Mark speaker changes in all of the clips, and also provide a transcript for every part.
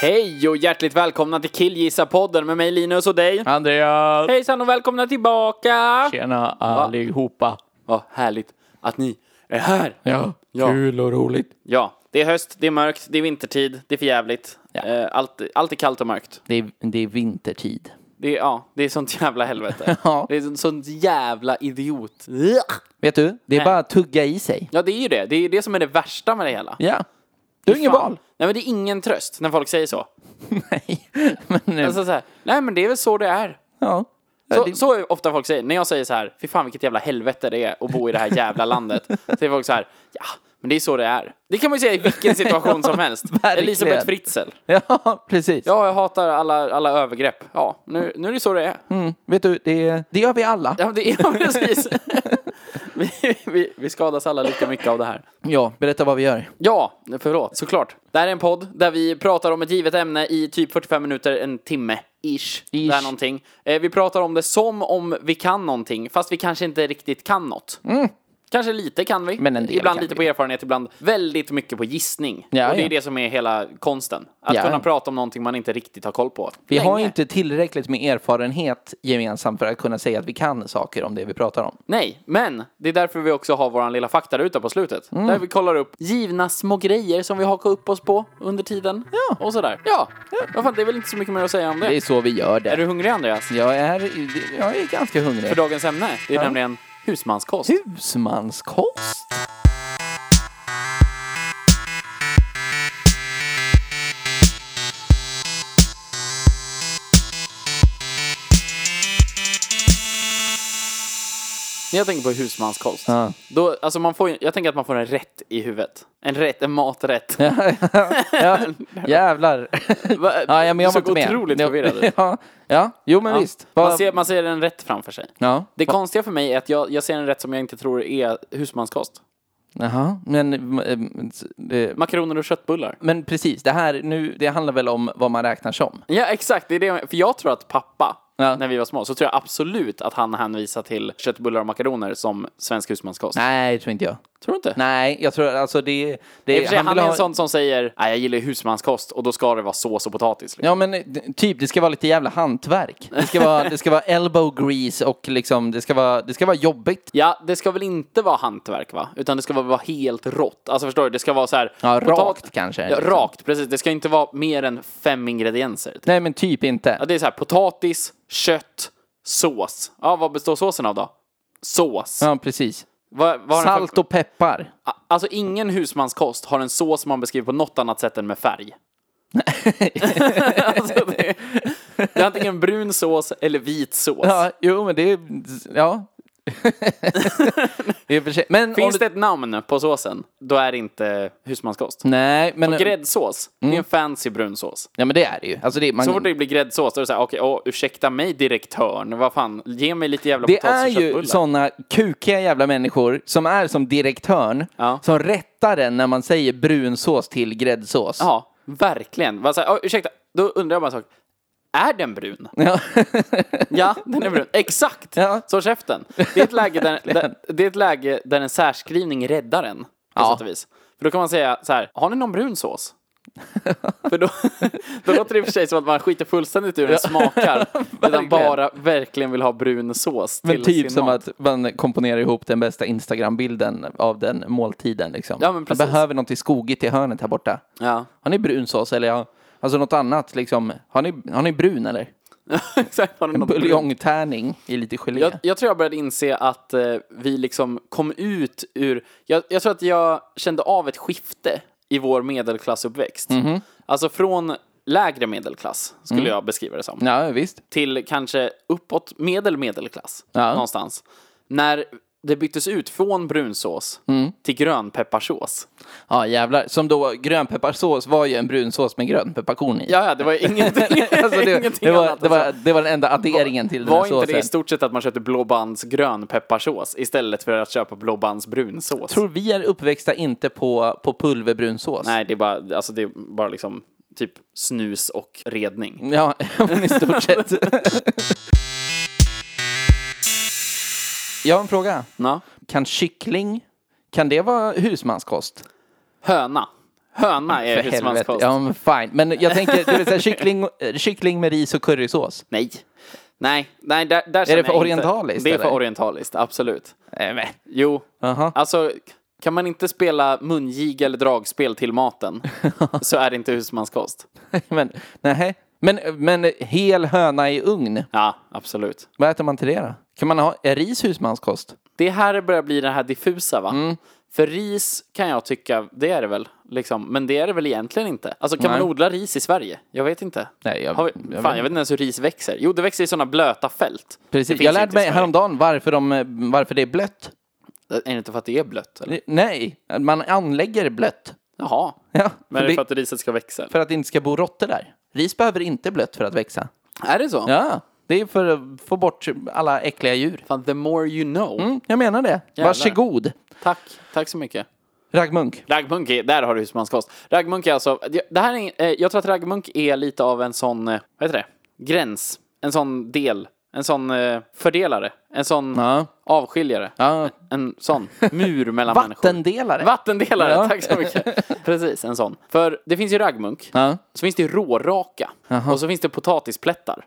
Speaker 1: Hej och hjärtligt välkomna till Killgissa-podden med mig Linus och dig.
Speaker 2: Andreas!
Speaker 1: Hejsan och välkomna tillbaka!
Speaker 2: Tjena allihopa!
Speaker 1: Vad härligt att ni är här!
Speaker 2: Ja,
Speaker 1: Ja.
Speaker 2: kul och roligt.
Speaker 1: Ja, det är höst, det är mörkt, det är vintertid, det är för jävligt.
Speaker 2: Ja.
Speaker 1: Eh, Allt, allt är kallt och mörkt.
Speaker 2: Det är, det är vintertid.
Speaker 1: Det är, ja, det är sånt jävla helvete.
Speaker 2: Ja.
Speaker 1: Det är sånt, sånt jävla idiot.
Speaker 2: Vet du, det är
Speaker 1: Nej.
Speaker 2: bara att tugga i sig.
Speaker 1: Ja, det är ju det. Det är ju det som är det värsta med det hela.
Speaker 2: Ja. Du har inget
Speaker 1: Fan.
Speaker 2: val.
Speaker 1: Nej, men det är ingen tröst när folk säger så.
Speaker 2: Nej, men nu...
Speaker 1: Alltså så här, nej men det är väl så det är.
Speaker 2: ja.
Speaker 1: Så,
Speaker 2: det,
Speaker 1: så är ofta folk säger, när jag säger så här, fy fan vilket jävla helvete det är att bo i det här jävla landet. Så säger folk så här, ja, men det är så det är. Det kan man ju säga i vilken situation som helst.
Speaker 2: verkligen.
Speaker 1: Elisabeth Fritzl.
Speaker 2: ja, precis.
Speaker 1: Ja, jag hatar alla, alla övergrepp. Ja, nu, nu är det så det är.
Speaker 2: Mm, vet du, det, det gör vi alla.
Speaker 1: Ja, men det är ja, precis. vi, vi, vi skadas alla lika mycket av det här.
Speaker 2: Ja, berätta vad vi gör.
Speaker 1: Ja, förlåt, såklart. Det här är en podd där vi pratar om ett givet ämne i typ 45 minuter, en timme. Ish.
Speaker 2: Ish.
Speaker 1: Det här någonting. Eh, vi pratar om det som om vi kan någonting, fast vi kanske inte riktigt kan något. Kanske lite kan vi.
Speaker 2: Mm. Men en del
Speaker 1: ibland
Speaker 2: kan
Speaker 1: lite
Speaker 2: vi.
Speaker 1: på erfarenhet, ibland väldigt mycket på gissning.
Speaker 2: Ja,
Speaker 1: och det är
Speaker 2: ja.
Speaker 1: det som är hela konsten. Att
Speaker 2: Ja.
Speaker 1: kunna prata om någonting man inte riktigt har koll på.
Speaker 2: Vi har
Speaker 1: Länge.
Speaker 2: inte tillräckligt med erfarenhet gemensamt för att kunna säga att vi kan saker om det vi pratar om.
Speaker 1: Nej, men det är därför vi också har vår lilla faktaruta på slutet.
Speaker 2: Mm.
Speaker 1: Där vi kollar upp givna små grejer som vi hakar upp oss på under tiden.
Speaker 2: Ja.
Speaker 1: Och sådär. Ja. Vad fan, det är väl inte så mycket mer att säga om det.
Speaker 2: Det är så vi gör det.
Speaker 1: Är du hungrig Andreas?
Speaker 2: Jag är, jag är ganska hungrig.
Speaker 1: För dagens ämne, det är nämligen husmanskost.
Speaker 2: Husmanskost?
Speaker 1: När jag tänker på husmanskost,
Speaker 2: Ja.
Speaker 1: då, alltså man får, ju- jag tänker att man får en rätt i huvudet. En rätt, en maträtt.
Speaker 2: ja, jävlar.
Speaker 1: Va-
Speaker 2: ja, ja, men jag
Speaker 1: du
Speaker 2: var
Speaker 1: såg
Speaker 2: inte med.
Speaker 1: otroligt
Speaker 2: Ja,
Speaker 1: förvirrad
Speaker 2: ja, ja, jo men
Speaker 1: Ja.
Speaker 2: visst.
Speaker 1: Man
Speaker 2: Vad-
Speaker 1: ser, man ser en rätt framför sig.
Speaker 2: Ja.
Speaker 1: Det konstiga för mig är att jag, jag ser en rätt som jag inte tror är husmanskost.
Speaker 2: Jaha, men, mm, eh,
Speaker 1: Makaroner och köttbullar.
Speaker 2: men precis, det här nu, det handlar väl om vad man räknar som?
Speaker 1: Ja, exakt. Det är det. För jag tror att pappa,
Speaker 2: Ja.
Speaker 1: när vi var små, så tror jag absolut att han hänvisar till köttbullar och makaroner som svensk husmanskost.
Speaker 2: Nej, det tror inte jag.
Speaker 1: Tror du inte?
Speaker 2: Nej, jag tror alltså det...
Speaker 1: I
Speaker 2: det
Speaker 1: och för sig, han,
Speaker 2: vill
Speaker 1: är
Speaker 2: ha-
Speaker 1: en sån som säger nej jag gillar husmanskost och då ska det vara sås och potatis. Liksom.
Speaker 2: Ja men eh, d- typ, det ska vara lite jävla hantverk. Det ska vara, det ska vara elbow grease och liksom, det ska vara, det ska vara jobbigt.
Speaker 1: Ja, det ska väl inte vara hantverk va? Utan det ska vara, vara helt rått. Alltså förstår du, det ska vara så här...
Speaker 2: Ja,
Speaker 1: potat-
Speaker 2: rakt kanske,
Speaker 1: Ja,
Speaker 2: liksom.
Speaker 1: rakt, precis. Det ska inte vara mer än fem ingredienser.
Speaker 2: Nej men typ inte.
Speaker 1: Ja, det är så här potatis, kött, sås. Ja, vad består såsen av då? Sås.
Speaker 2: Ja, precis.
Speaker 1: Vad, vad har den för-
Speaker 2: Salt och peppar.
Speaker 1: Alltså ingen husmanskost har en sås man beskriver på något annat sätt än med färg. alltså, det, det är antingen brun sås eller vit sås.
Speaker 2: Ja, jo men det är, ja. I och för sig. Men om
Speaker 1: Finns
Speaker 2: du-
Speaker 1: det ett namn på såsen, då är det inte husmanskost.
Speaker 2: Nej, Mm. men,
Speaker 1: Gräddsås, det är en fancy brun sås.
Speaker 2: ja, men det är det ju. Alltså det, man,
Speaker 1: Så fort det blir gräddsås, då är det såhär, okej, åh, ursäkta mig direktörn, vad fan, ge mig lite jävla
Speaker 2: det
Speaker 1: potatis
Speaker 2: är
Speaker 1: och
Speaker 2: ju
Speaker 1: köttbullar.
Speaker 2: sådana kukiga jävla människor som är som direktörn,
Speaker 1: Ja.
Speaker 2: som rättar den när man säger brunsås till gräddsås.
Speaker 1: Ja, verkligen. Vad så här, åh, ursäkta, då undrar jag bara en sak. Är den brun?
Speaker 2: Ja.
Speaker 1: Ja, den är brun. Exakt!
Speaker 2: Ja.
Speaker 1: Så käften. Det är, ett läge där, där, det är ett läge där en särskrivning räddar en. På
Speaker 2: Ja.
Speaker 1: sätt och vis. För då kan man säga så här, har ni någon brun sås? för då, då låter det i och för sig som att man skiter fullständigt ur hur den smakar. Utan
Speaker 2: Verkligen.
Speaker 1: bara verkligen vill ha brun sås till
Speaker 2: Men typ
Speaker 1: sin
Speaker 2: som
Speaker 1: mat.
Speaker 2: att man komponerar ihop den bästa Instagram-bilden av den måltiden. Liksom.
Speaker 1: Ja, men
Speaker 2: jag
Speaker 1: precis.
Speaker 2: behöver något i skogigt i hörnet här borta.
Speaker 1: Ja.
Speaker 2: Har ni brunsås eller ja, alltså något annat? Liksom. Har, ni, har ni brun eller?
Speaker 1: Exakt, har ni någon brun-
Speaker 2: Buljongtärning i lite gelé.
Speaker 1: Jag, jag tror jag började inse att eh, vi liksom kom ut ur... Jag, jag tror att jag kände av ett skifte i vår medelklassuppväxt.
Speaker 2: Mhm.
Speaker 1: Alltså från lägre medelklass, skulle
Speaker 2: Mm.
Speaker 1: jag beskriva det som,
Speaker 2: Ja, visst.
Speaker 1: till kanske uppåt medel medelklass
Speaker 2: Ja.
Speaker 1: någonstans. När det byttes ut från brunsås
Speaker 2: Mm.
Speaker 1: till grönpepparsås.
Speaker 2: Ja, jävlar. Som då, grönpepparsås var ju en brunsås med grönpepparkorn i.
Speaker 1: Ja, ja, det var ingenting,
Speaker 2: Alltså det,
Speaker 1: ingenting
Speaker 2: det, var,
Speaker 1: annat.
Speaker 2: det, var,
Speaker 1: alltså.
Speaker 2: det var den enda adderingen till den
Speaker 1: Var
Speaker 2: här
Speaker 1: inte det i
Speaker 2: såsen.
Speaker 1: stort sett att man köpte blåbands grönpepparsås istället för att köpa blåbands brunsås?
Speaker 2: tror vi är uppväxta inte på, på pulverbrunsås.
Speaker 1: Nej, det är bara, alltså det är bara liksom typ snus och redning.
Speaker 2: Ja, men i stort sett. Jag har en fråga.
Speaker 1: Ja.
Speaker 2: Kan kyckling, kan det vara husmanskost?
Speaker 1: Höna. Höna är
Speaker 2: För helvete.
Speaker 1: husmanskost.
Speaker 2: Ja, men fine. Men jag tänker, det vill säga kyckling, eh, kyckling med ris och currysås.
Speaker 1: Nej. Nej, nej, där, där känner
Speaker 2: det för
Speaker 1: jag
Speaker 2: orientaliskt,
Speaker 1: Inte. Det är för
Speaker 2: eller?
Speaker 1: orientaliskt, absolut.
Speaker 2: Nej, men.
Speaker 1: Jo,
Speaker 2: Aha.
Speaker 1: alltså kan man inte spela mungiga eller dragspel till maten så är det inte husmanskost.
Speaker 2: Men, nähä. Men, men hel höna i ugn,
Speaker 1: Ja, absolut.
Speaker 2: vad äter man till det då? Kan man ha är ris husmanskost?
Speaker 1: Det här börjar bli det här diffusa va?
Speaker 2: Mm.
Speaker 1: För ris kan jag tycka, det är det väl, liksom. men det är det väl egentligen inte. Alltså kan
Speaker 2: Nej.
Speaker 1: man odla ris i Sverige? Jag vet inte.
Speaker 2: Nej, jag-
Speaker 1: Har vi,
Speaker 2: jag
Speaker 1: fan,
Speaker 2: vet
Speaker 1: jag vet inte ens hur ris växer. Jo, det växer i sådana blöta fält. Det
Speaker 2: Precis.
Speaker 1: finns
Speaker 2: Jag
Speaker 1: ju
Speaker 2: lärde
Speaker 1: inte i
Speaker 2: mig
Speaker 1: Sverige.
Speaker 2: häromdagen varför, de, eh, varför det är blött.
Speaker 1: Är det inte för att det är blött? Eller?
Speaker 2: Nej, man anlägger blött.
Speaker 1: Jaha.
Speaker 2: Ja,
Speaker 1: Men är
Speaker 2: det-
Speaker 1: det för att riset ska växa?
Speaker 2: för att det inte ska bo råttor där. Ris behöver inte blött för att växa.
Speaker 1: Är det så?
Speaker 2: Ja, det är för att få bort alla äckliga djur.
Speaker 1: Fan, the more you know.
Speaker 2: Mm, jag menar det. Varsågod.
Speaker 1: Tack, tack så mycket.
Speaker 2: Raggmunk.
Speaker 1: Raggmunk, är- där har du husmanskost. Raggmunk är alltså, det- det här är, eh, jag tror att raggmunk är lite av en sån, eh, vad heter det, gräns, en sån del, en sån eh, fördelare, en sån
Speaker 2: Ja.
Speaker 1: avskiljare,
Speaker 2: Ja.
Speaker 1: en sån mur mellan människor.
Speaker 2: Vattendelare.
Speaker 1: Vattendelare,
Speaker 2: Ja.
Speaker 1: tack så mycket. Precis, en sån. För det finns ju raggmunk,
Speaker 2: Ja.
Speaker 1: så finns det ju råraka och så finns det potatisplättar.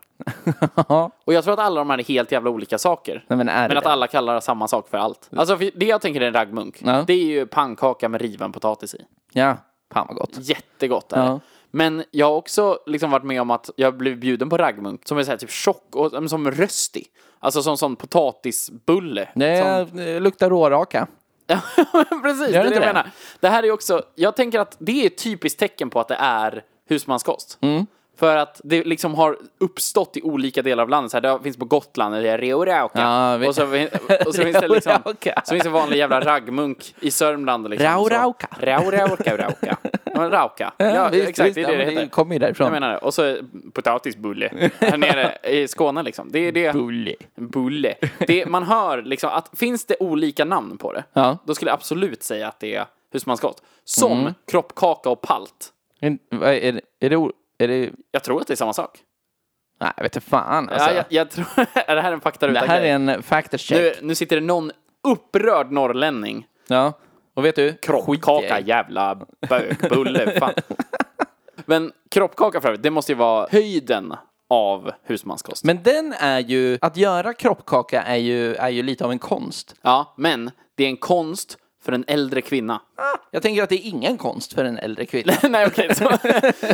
Speaker 1: och jag tror att alla de här är helt jävla olika saker.
Speaker 2: Nej, men är
Speaker 1: Men
Speaker 2: det
Speaker 1: att
Speaker 2: det? Mm.
Speaker 1: alla kallar samma sak för allt. Alltså för det jag tänker är en raggmunk.
Speaker 2: Ja.
Speaker 1: Det är ju pannkaka med riven potatis i.
Speaker 2: Ja, fan vad gott.
Speaker 1: Jättegott är
Speaker 2: Ja.
Speaker 1: det. Men jag har också liksom varit med om att jag blev bjuden på raggmunk som är så här typ tjock och men som röstig. Alltså som sån potatisbulle.
Speaker 2: Det
Speaker 1: Som-
Speaker 2: eh, luktar råraka.
Speaker 1: Precis, det
Speaker 2: Gör
Speaker 1: är det
Speaker 2: inte
Speaker 1: jag
Speaker 2: det?
Speaker 1: menar. Det här är också, jag tänker att det är ett typiskt tecken på att det är husmanskost.
Speaker 2: Mm.
Speaker 1: För att det liksom har uppstått i olika delar av landet. Så här, det finns på Gotland, det är Reorauka.
Speaker 2: Ja, vi-
Speaker 1: och, så, fin- och så finns det liksom,
Speaker 2: Reorauka.
Speaker 1: så finns det vanlig jävla raggmunk i Sörmland. Liksom,
Speaker 2: Raurauka.
Speaker 1: Så- Raurauka, rauka. Ja, men Rauka. Ja,
Speaker 2: visst,
Speaker 1: exakt,
Speaker 2: visst.
Speaker 1: det är
Speaker 2: Ja,
Speaker 1: det
Speaker 2: men
Speaker 1: det
Speaker 2: det
Speaker 1: heter.
Speaker 2: kommer ju därifrån.
Speaker 1: Jag menar det. Och så potatisbulle här nere i Skåne liksom. Det är det.
Speaker 2: Bulle.
Speaker 1: Bulle. Det, man hör liksom att finns det olika namn på det,
Speaker 2: Ja.
Speaker 1: då skulle jag absolut säga att det är husmanskost. Som
Speaker 2: Mm.
Speaker 1: kroppkaka och palt.
Speaker 2: Men, vad Är det... Är det, o- är det
Speaker 1: Jag tror att det är samma sak.
Speaker 2: nej, jag vet inte fan alltså.
Speaker 1: Ja, jag, jag tror, är det här en faktaruta
Speaker 2: Det här
Speaker 1: grej?
Speaker 2: är en factor check.
Speaker 1: nu, nu sitter det någon upprörd norrlänning.
Speaker 2: Ja. Och vet du? Skit i
Speaker 1: Kroppkaka,
Speaker 2: dig.
Speaker 1: jävla bögbulle. fan. Men kroppkaka för övrigt, det måste ju vara höjden av husmanskost.
Speaker 2: Men den är ju, att göra kroppkaka är ju, är ju lite av en konst.
Speaker 1: ja, men det är en konst för en äldre kvinna.
Speaker 2: Jag tänker att det är ingen konst för en äldre kvinna.
Speaker 1: Nej okej, så-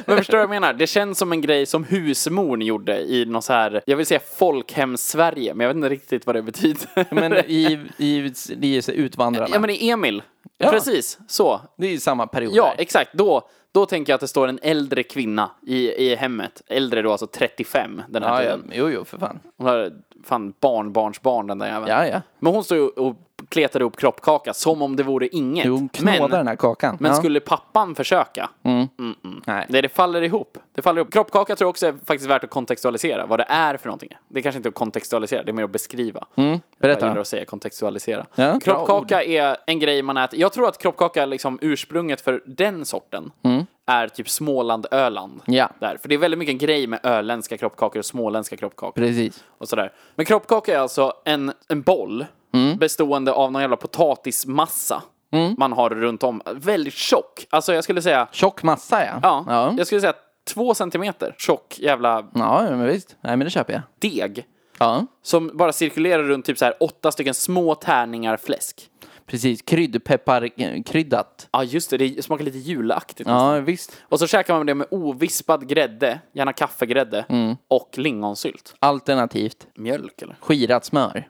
Speaker 1: men förstår du vad jag menar? Det känns som en grej som husmorn gjorde i någon så här, jag vill säga folkhem-Sverige, men jag vet inte riktigt vad det betyder.
Speaker 2: Men i, i, i Utvandrarna,
Speaker 1: ja men i Emil, precis så.
Speaker 2: det är ju samma period.
Speaker 1: Ja
Speaker 2: där.
Speaker 1: exakt, då, då tänker jag att det står en äldre kvinna i, i hemmet. Äldre då alltså 35 den här
Speaker 2: ja, ja,
Speaker 1: tiden.
Speaker 2: jo, jo, för fan.
Speaker 1: Hon har fan barnbarnsbarn den där jäveln.
Speaker 2: Ja, ja.
Speaker 1: Men hon stod ju och kletade upp kroppkaka som om det vore inget.
Speaker 2: Jo, hon knådar den här kakan.
Speaker 1: Men
Speaker 2: ja. Mm.
Speaker 1: skulle pappan försöka?
Speaker 2: Nej.
Speaker 1: Nej, det faller ihop. Det faller ihop. Kroppkaka tror jag också är faktiskt värt att kontextualisera vad det är för någonting. Det är kanske inte att kontextualisera, det är mer att beskriva.
Speaker 2: Mm, berätta.
Speaker 1: Jag gillar att säga kontextualisera.
Speaker 2: Ja, bra
Speaker 1: kroppkaka är en grej man äter. Jag tror att kroppkaka, liksom ursprunget för den sorten, är typ Småland, Öland.
Speaker 2: Mm. Ja.
Speaker 1: Där. För det är väldigt mycket en grej med öländska kroppkakor och småländska kroppkakor.
Speaker 2: Precis.
Speaker 1: Och sådär. Men kroppkaka är alltså en, en boll
Speaker 2: Mm.
Speaker 1: bestående av någon jävla potatismassa man har runt om. Väldigt tjock. Alltså jag skulle säga
Speaker 2: Tjock massa, ja.
Speaker 1: Ja,
Speaker 2: ja.
Speaker 1: jag skulle säga två centimeter tjock jävla
Speaker 2: Ja, men visst. Nej, men det köper jag.
Speaker 1: deg.
Speaker 2: Ja,
Speaker 1: Som bara cirkulerar runt typ så här åtta stycken små tärningar fläsk.
Speaker 2: precis. Kryddpepparkryddat.
Speaker 1: Ja just det, det smakar lite julaktigt. nästan.
Speaker 2: Ja, visst.
Speaker 1: Och så käkar man det med ovispad grädde, gärna kaffegrädde,
Speaker 2: Mm.
Speaker 1: och lingonsylt.
Speaker 2: Alternativt
Speaker 1: Mjölk eller?
Speaker 2: skirat smör.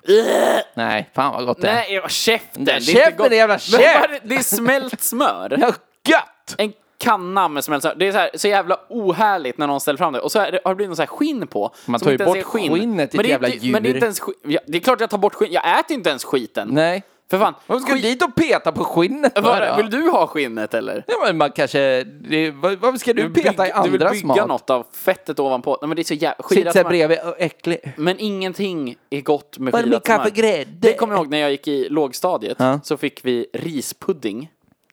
Speaker 2: Nej, fan vad gott det är.
Speaker 1: Nej, jag- käften!
Speaker 2: käften,
Speaker 1: gott.
Speaker 2: jävla
Speaker 1: Men vad är
Speaker 2: käft!
Speaker 1: det- Det är smält smör.
Speaker 2: Ja, Gött!
Speaker 1: En kan namn som helst. Det är så, här, så jävla ohärligt när någon ställer fram det. Och så är det, har det blivit någon så här skinn på.
Speaker 2: Man
Speaker 1: som
Speaker 2: tar ju
Speaker 1: inte ens
Speaker 2: bort
Speaker 1: är skinn.
Speaker 2: skinnet i
Speaker 1: Men
Speaker 2: ett
Speaker 1: det är
Speaker 2: jävla
Speaker 1: inte- Men det är
Speaker 2: djur.
Speaker 1: inte ens skinn. Ja, det är klart jag tar bort skinn. Jag äter inte ens skiten.
Speaker 2: Nej.
Speaker 1: För fan.
Speaker 2: Varför ska du
Speaker 1: skit-
Speaker 2: dit och peta på skinnet
Speaker 1: Vad-
Speaker 2: bara?
Speaker 1: Vill du ha skinnet eller?
Speaker 2: Ja, men man kanske... Det, var- varför ska du,
Speaker 1: vill
Speaker 2: peta i
Speaker 1: bygga- Du vill
Speaker 2: andras
Speaker 1: bygga
Speaker 2: mat?
Speaker 1: något av fettet ovanpå. Nej men det är så jävla...
Speaker 2: Sitt
Speaker 1: skirat
Speaker 2: såhär
Speaker 1: smör.
Speaker 2: bredvid, och äcklig.
Speaker 1: Men ingenting är gott med
Speaker 2: Bara
Speaker 1: skirat
Speaker 2: med kaffe
Speaker 1: smör.
Speaker 2: och grädde.
Speaker 1: Det kommer jag ihåg när jag gick i lågstadiet.
Speaker 2: Ja.
Speaker 1: Så fick vi rispudding.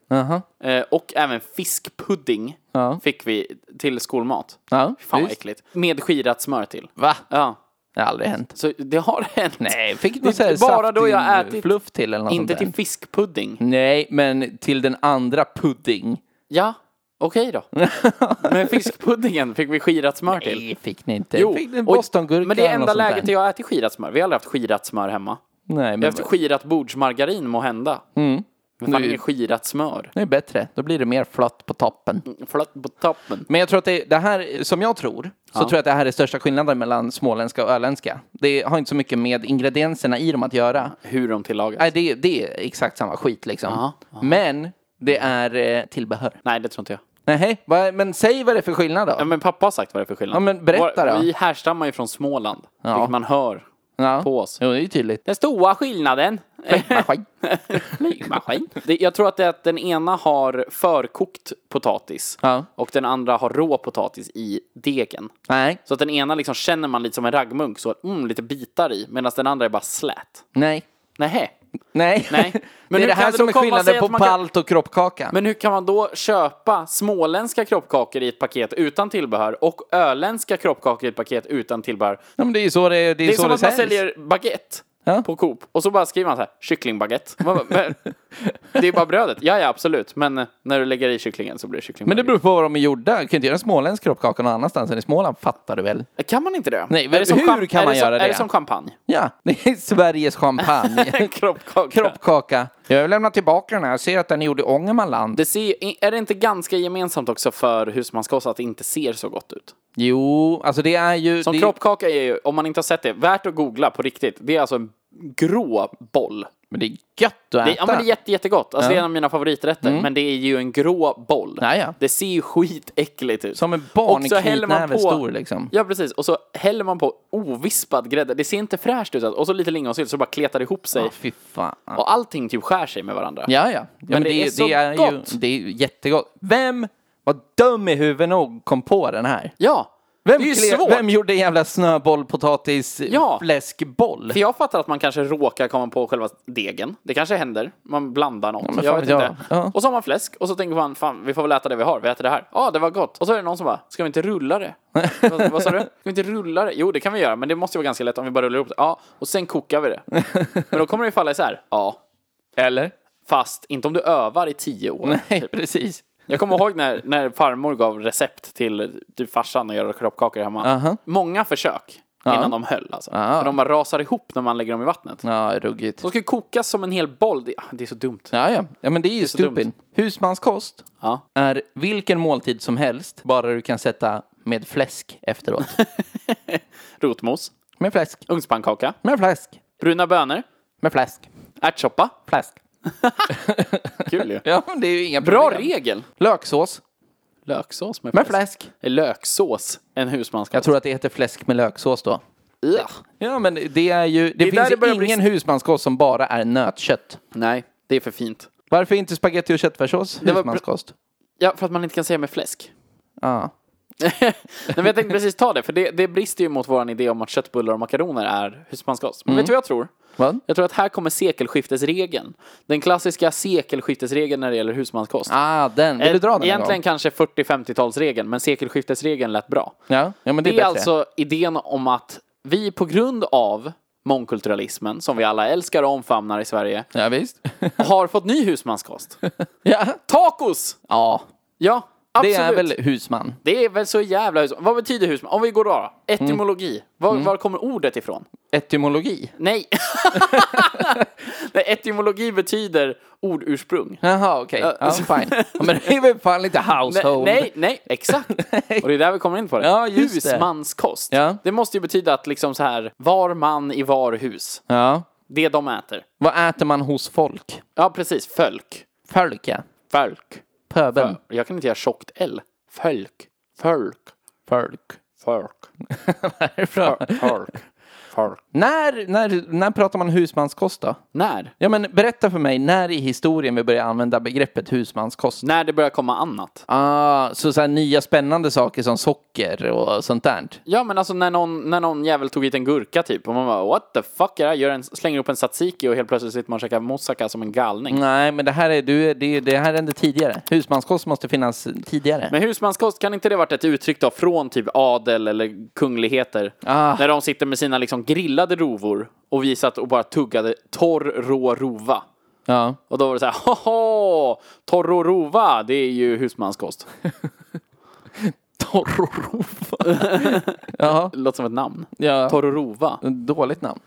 Speaker 2: Jaha.
Speaker 1: Eh, och även fiskpudding
Speaker 2: Ja.
Speaker 1: fick vi till skolmat.
Speaker 2: Ja,
Speaker 1: Fan vad
Speaker 2: visst.
Speaker 1: äckligt. Med skirat smör till.
Speaker 2: Va?
Speaker 1: Ja.
Speaker 2: Det har aldrig hänt.
Speaker 1: Så det har hänt.
Speaker 2: Nej, fick
Speaker 1: Det är
Speaker 2: du såhär
Speaker 1: bara då jag
Speaker 2: saftig
Speaker 1: ätit-
Speaker 2: fluff till eller något
Speaker 1: Inte
Speaker 2: sånt där?
Speaker 1: till fiskpudding.
Speaker 2: Nej, men till den andra pudding.
Speaker 1: Ja, okej då. Men fiskpuddingen fick vi skirat smör till.
Speaker 2: Nej, fick ni inte.
Speaker 1: Jo,
Speaker 2: fick ni en
Speaker 1: och-
Speaker 2: bostongurka
Speaker 1: Men det är
Speaker 2: eller något
Speaker 1: enda
Speaker 2: sånt där? Mm.
Speaker 1: läget jag har ätit skirat smör. Vi har aldrig haft skirat smör hemma.
Speaker 2: Nej,
Speaker 1: Vi har
Speaker 2: men
Speaker 1: haft skirat bordsmargarin må hända.
Speaker 2: Mm.
Speaker 1: Men fan, inget skirat smör.
Speaker 2: det är bättre. Då blir det mer flott på toppen.
Speaker 1: Flott på toppen.
Speaker 2: Men jag tror att det, det här, som jag tror, så tror jag att det här är största skillnaden mellan småländska och öländska. Det har inte så mycket med ingredienserna i dem att göra.
Speaker 1: Hur de tillagas.
Speaker 2: Nej, det, det är exakt samma skit liksom.
Speaker 1: Ja,
Speaker 2: Men det är eh, tillbehör.
Speaker 1: Nej, det tror inte jag.
Speaker 2: Nej, vad- men säg vad det är för skillnad då.
Speaker 1: Ja, men pappa har sagt vad det är för skillnad.
Speaker 2: Ja, men berätta
Speaker 1: Vår-
Speaker 2: då.
Speaker 1: Vi härstammar ju från Småland.
Speaker 2: Ja.
Speaker 1: Vilket man hör
Speaker 2: Ja.
Speaker 1: på oss.
Speaker 2: Jo, det är ju tydligt.
Speaker 1: Den stora skillnaden.
Speaker 2: Men skit.
Speaker 1: Flygmaskin. Det- Jag tror att det är att den ena har förkokt potatis.
Speaker 2: Ja.
Speaker 1: Och den andra har rå potatis i degen.
Speaker 2: Nej,
Speaker 1: Så att den ena liksom känner man lite som en raggmunk, så mm, lite bitar i. Medan den andra är bara slät.
Speaker 2: nej,
Speaker 1: Nähä.
Speaker 2: nej.
Speaker 1: Nej.
Speaker 2: Men
Speaker 1: Men
Speaker 2: det är
Speaker 1: hur
Speaker 2: det
Speaker 1: kan
Speaker 2: här
Speaker 1: det
Speaker 2: som
Speaker 1: då
Speaker 2: är
Speaker 1: komma sig
Speaker 2: skillnaden
Speaker 1: att
Speaker 2: på
Speaker 1: man kan-
Speaker 2: palt och kroppkaka.
Speaker 1: Men hur kan man då köpa småländska kroppkakor i ett paket utan tillbehör och öländska kroppkakor i ett paket utan tillbehör?
Speaker 2: Ja, men det är ju så det, det, är
Speaker 1: Det är
Speaker 2: så
Speaker 1: som
Speaker 2: det
Speaker 1: att man
Speaker 2: säljs.
Speaker 1: säljer baguette
Speaker 2: Ja.
Speaker 1: på Coop och så bara skriver man så här, kycklingbaguette. Man bara, men, det är bara brödet. Ja, ja, absolut. Men när du lägger i kycklingen så blir det kycklingbaguette.
Speaker 2: Men det beror på vad de är gjorda. Du kan inte göra en småländsk kroppkaka någon annanstans än i Småland, fattar du väl?
Speaker 1: Kan man inte det?
Speaker 2: Nej,
Speaker 1: är det som
Speaker 2: hur
Speaker 1: champ-
Speaker 2: kan
Speaker 1: är
Speaker 2: man
Speaker 1: det som,
Speaker 2: göra
Speaker 1: Är
Speaker 2: det?
Speaker 1: det som champagne?
Speaker 2: Ja, det är Sveriges champagne.
Speaker 1: Kroppkaka.
Speaker 2: kroppkaka. Jag vill lämna tillbaka den här. Jag ser att den är gjord i Ångermanland.
Speaker 1: Det ser, är det inte ganska gemensamt också för husmanskost att det inte ser så gott ut?
Speaker 2: Jo, alltså det är ju...
Speaker 1: Som
Speaker 2: det...
Speaker 1: kroppkaka är ju, om man inte har sett det, värt att googla på riktigt. Det är alltså en grå boll.
Speaker 2: Men det är gött att
Speaker 1: Det,
Speaker 2: äta. Mm.
Speaker 1: ja, men det är jätte, jättegott. Alltså, Det är en av mina favoriträtter. Men det är ju en grå boll.
Speaker 2: Ja, ja.
Speaker 1: Det ser ju skitäckligt ut.
Speaker 2: Som en barn i
Speaker 1: Och så häller man
Speaker 2: knytnäve
Speaker 1: på-
Speaker 2: stor liksom.
Speaker 1: Ja, precis. Och så häller man på ovispad grädde. Det ser inte fräscht ut. Och så lite lingonsylt så det bara kletar ihop sig.
Speaker 2: Ja, fy fan. Ja,
Speaker 1: Och allting typ skär sig med varandra.
Speaker 2: ja. ja men,
Speaker 1: det är så gott.
Speaker 2: Ju, det är ju jättegott. Vem var dum i huvudet och kom på den här?
Speaker 1: Ja.
Speaker 2: Vem,
Speaker 1: det är ju
Speaker 2: kle-
Speaker 1: svårt.
Speaker 2: vem gjorde en jävla snöboll, potatis,
Speaker 1: Ja.
Speaker 2: fläskboll?
Speaker 1: För jag fattar att man kanske råkar komma på själva degen. Det kanske händer. Man blandar något.
Speaker 2: men
Speaker 1: jag
Speaker 2: fan
Speaker 1: vet
Speaker 2: vet jag.
Speaker 1: inte.
Speaker 2: Ja.
Speaker 1: Och så har man fläsk och så tänker man, fan vi får väl äta det vi har. Vi äter det här. Ja, det var gott. Och så är det någon som bara, ska vi inte rulla det? vad, vad sa du? Ska vi inte rulla det? Jo, det kan vi göra, men det måste ju vara ganska lätt om vi bara rullar ihop det. Ja, och sen kokar vi det. men då kommer det ju falla isär. Ja.
Speaker 2: Eller?
Speaker 1: Fast inte om du övar i tio år.
Speaker 2: Nej, precis.
Speaker 1: Jag kommer ihåg när, när farmor gav recept till typ farsan att göra kroppkakor hemma.
Speaker 2: Aha.
Speaker 1: Många försök innan de höll alltså. För de bara rasar ihop när man lägger dem i vattnet.
Speaker 2: Ja, ruggigt.
Speaker 1: De ska ju kokas som en hel boll. Det, ah, det är så dumt.
Speaker 2: Ja, ja. ja men det är ju
Speaker 1: så dumt.
Speaker 2: stupid. Husmanskost
Speaker 1: Ja.
Speaker 2: är vilken måltid som helst, bara du kan sätta med fläsk efteråt.
Speaker 1: Rotmos,
Speaker 2: med fläsk,
Speaker 1: ugnspannkaka,
Speaker 2: med fläsk,
Speaker 1: bruna bönor,
Speaker 2: med fläsk,
Speaker 1: ärtsoppa.
Speaker 2: fläsk.
Speaker 1: Kul ju.
Speaker 2: Ja, men det är ju inga
Speaker 1: Bra
Speaker 2: problem.
Speaker 1: regel.
Speaker 2: Löksås
Speaker 1: Löksås med
Speaker 2: med
Speaker 1: fläsk.
Speaker 2: fläsk.
Speaker 1: Är löksås en
Speaker 2: Jag
Speaker 1: husmanskost?
Speaker 2: tror att det heter fläsk med löksås då.
Speaker 1: Ja.
Speaker 2: Ja, men det är ju... Det,
Speaker 1: där
Speaker 2: finns
Speaker 1: det
Speaker 2: ju
Speaker 1: börjar
Speaker 2: ingen
Speaker 1: bli-
Speaker 2: husmanskost som bara är nötkött.
Speaker 1: Nej, det är för fint.
Speaker 2: Varför inte spagetti och köttfärssås
Speaker 1: var-
Speaker 2: husmanskost?
Speaker 1: Ja, för att man inte kan säga med fläsk.
Speaker 2: Ja.
Speaker 1: Nej, men jag tänkte precis ta det, för det, det brister ju mot vår idé om att köttbullar och makaroner är husmanskost.
Speaker 2: Mm.
Speaker 1: Men vet du vad jag tror?
Speaker 2: Vad?
Speaker 1: Jag tror att här kommer sekelskiftesregeln. Den klassiska sekelskiftesregeln när det gäller husmanskost.
Speaker 2: Ah, den. Vill du dra den en
Speaker 1: Egentligen
Speaker 2: gång?
Speaker 1: kanske 40-50-talsregeln, men sekelskiftesregeln lät bra.
Speaker 2: Ja, ja, men det är,
Speaker 1: Det är
Speaker 2: bättre.
Speaker 1: alltså idén om att vi på grund av mångkulturalismen, som vi alla älskar och omfamnar i Sverige,
Speaker 2: Ja, visst.
Speaker 1: har fått ny husmanskost.
Speaker 2: ja.
Speaker 1: Tacos!
Speaker 2: ja,
Speaker 1: Ja,
Speaker 2: det
Speaker 1: absolut.
Speaker 2: är väl husman.
Speaker 1: så jävla husman. Vad betyder husman? Om vi går då, då. etymologi.
Speaker 2: Mm.
Speaker 1: Var, var kommer ordet ifrån?
Speaker 2: Etymologi?
Speaker 1: Nej. Nej, etymologi betyder ordursprung.
Speaker 2: Jaha, okej. Ja, fine. Ja, Men det är väl fan lite
Speaker 1: Nej,
Speaker 2: household?
Speaker 1: nej, nej, exakt. Och det är där vi kommer in på det.
Speaker 2: Ja, just det.
Speaker 1: Husmanskost.
Speaker 2: Ja.
Speaker 1: Det måste ju betyda att liksom så här, var man i var hus.
Speaker 2: Ja.
Speaker 1: Det de äter.
Speaker 2: Vad äter man hos folk?
Speaker 1: Ja, precis. Fölk.
Speaker 2: Folk, ja.
Speaker 1: Folk.
Speaker 2: Pöbeln.
Speaker 1: Jag kan inte göra tjockt L. Fölk. Fölk.
Speaker 2: Folk.
Speaker 1: Fölk.
Speaker 2: Bra.
Speaker 1: Fölk. Fölk.
Speaker 2: När, när, när pratar man husmanskost då?
Speaker 1: När?
Speaker 2: Ja, men berätta för mig, när i historien vi börjar använda begreppet husmanskost?
Speaker 1: När det börjar komma annat.
Speaker 2: Ah, så, så här nya spännande saker som socker och sånt där?
Speaker 1: Ja men alltså när någon, när någon jävel tog hit en gurka typ och man bara what the fuck är det här? Gör en, slänger upp en tzatziki och helt plötsligt sitter man och käkar moussaka som en galning.
Speaker 2: Nej, men det här, är, du, det, det här hände tidigare. Husmanskost måste finnas tidigare.
Speaker 1: Men husmanskost, kan inte det varit ett uttryck då från typ adel eller kungligheter?
Speaker 2: Ah.
Speaker 1: När de sitter med sina liksom grillade rovor och visat och bara tuggade torr rå rova.
Speaker 2: ja.
Speaker 1: Och då var det så här, haha, torr rå rova, det är ju husmanskost.
Speaker 2: Torrorova. ja,
Speaker 1: Det låter som ett namn.
Speaker 2: ja.
Speaker 1: Torr rå rova.
Speaker 2: dåligt namn.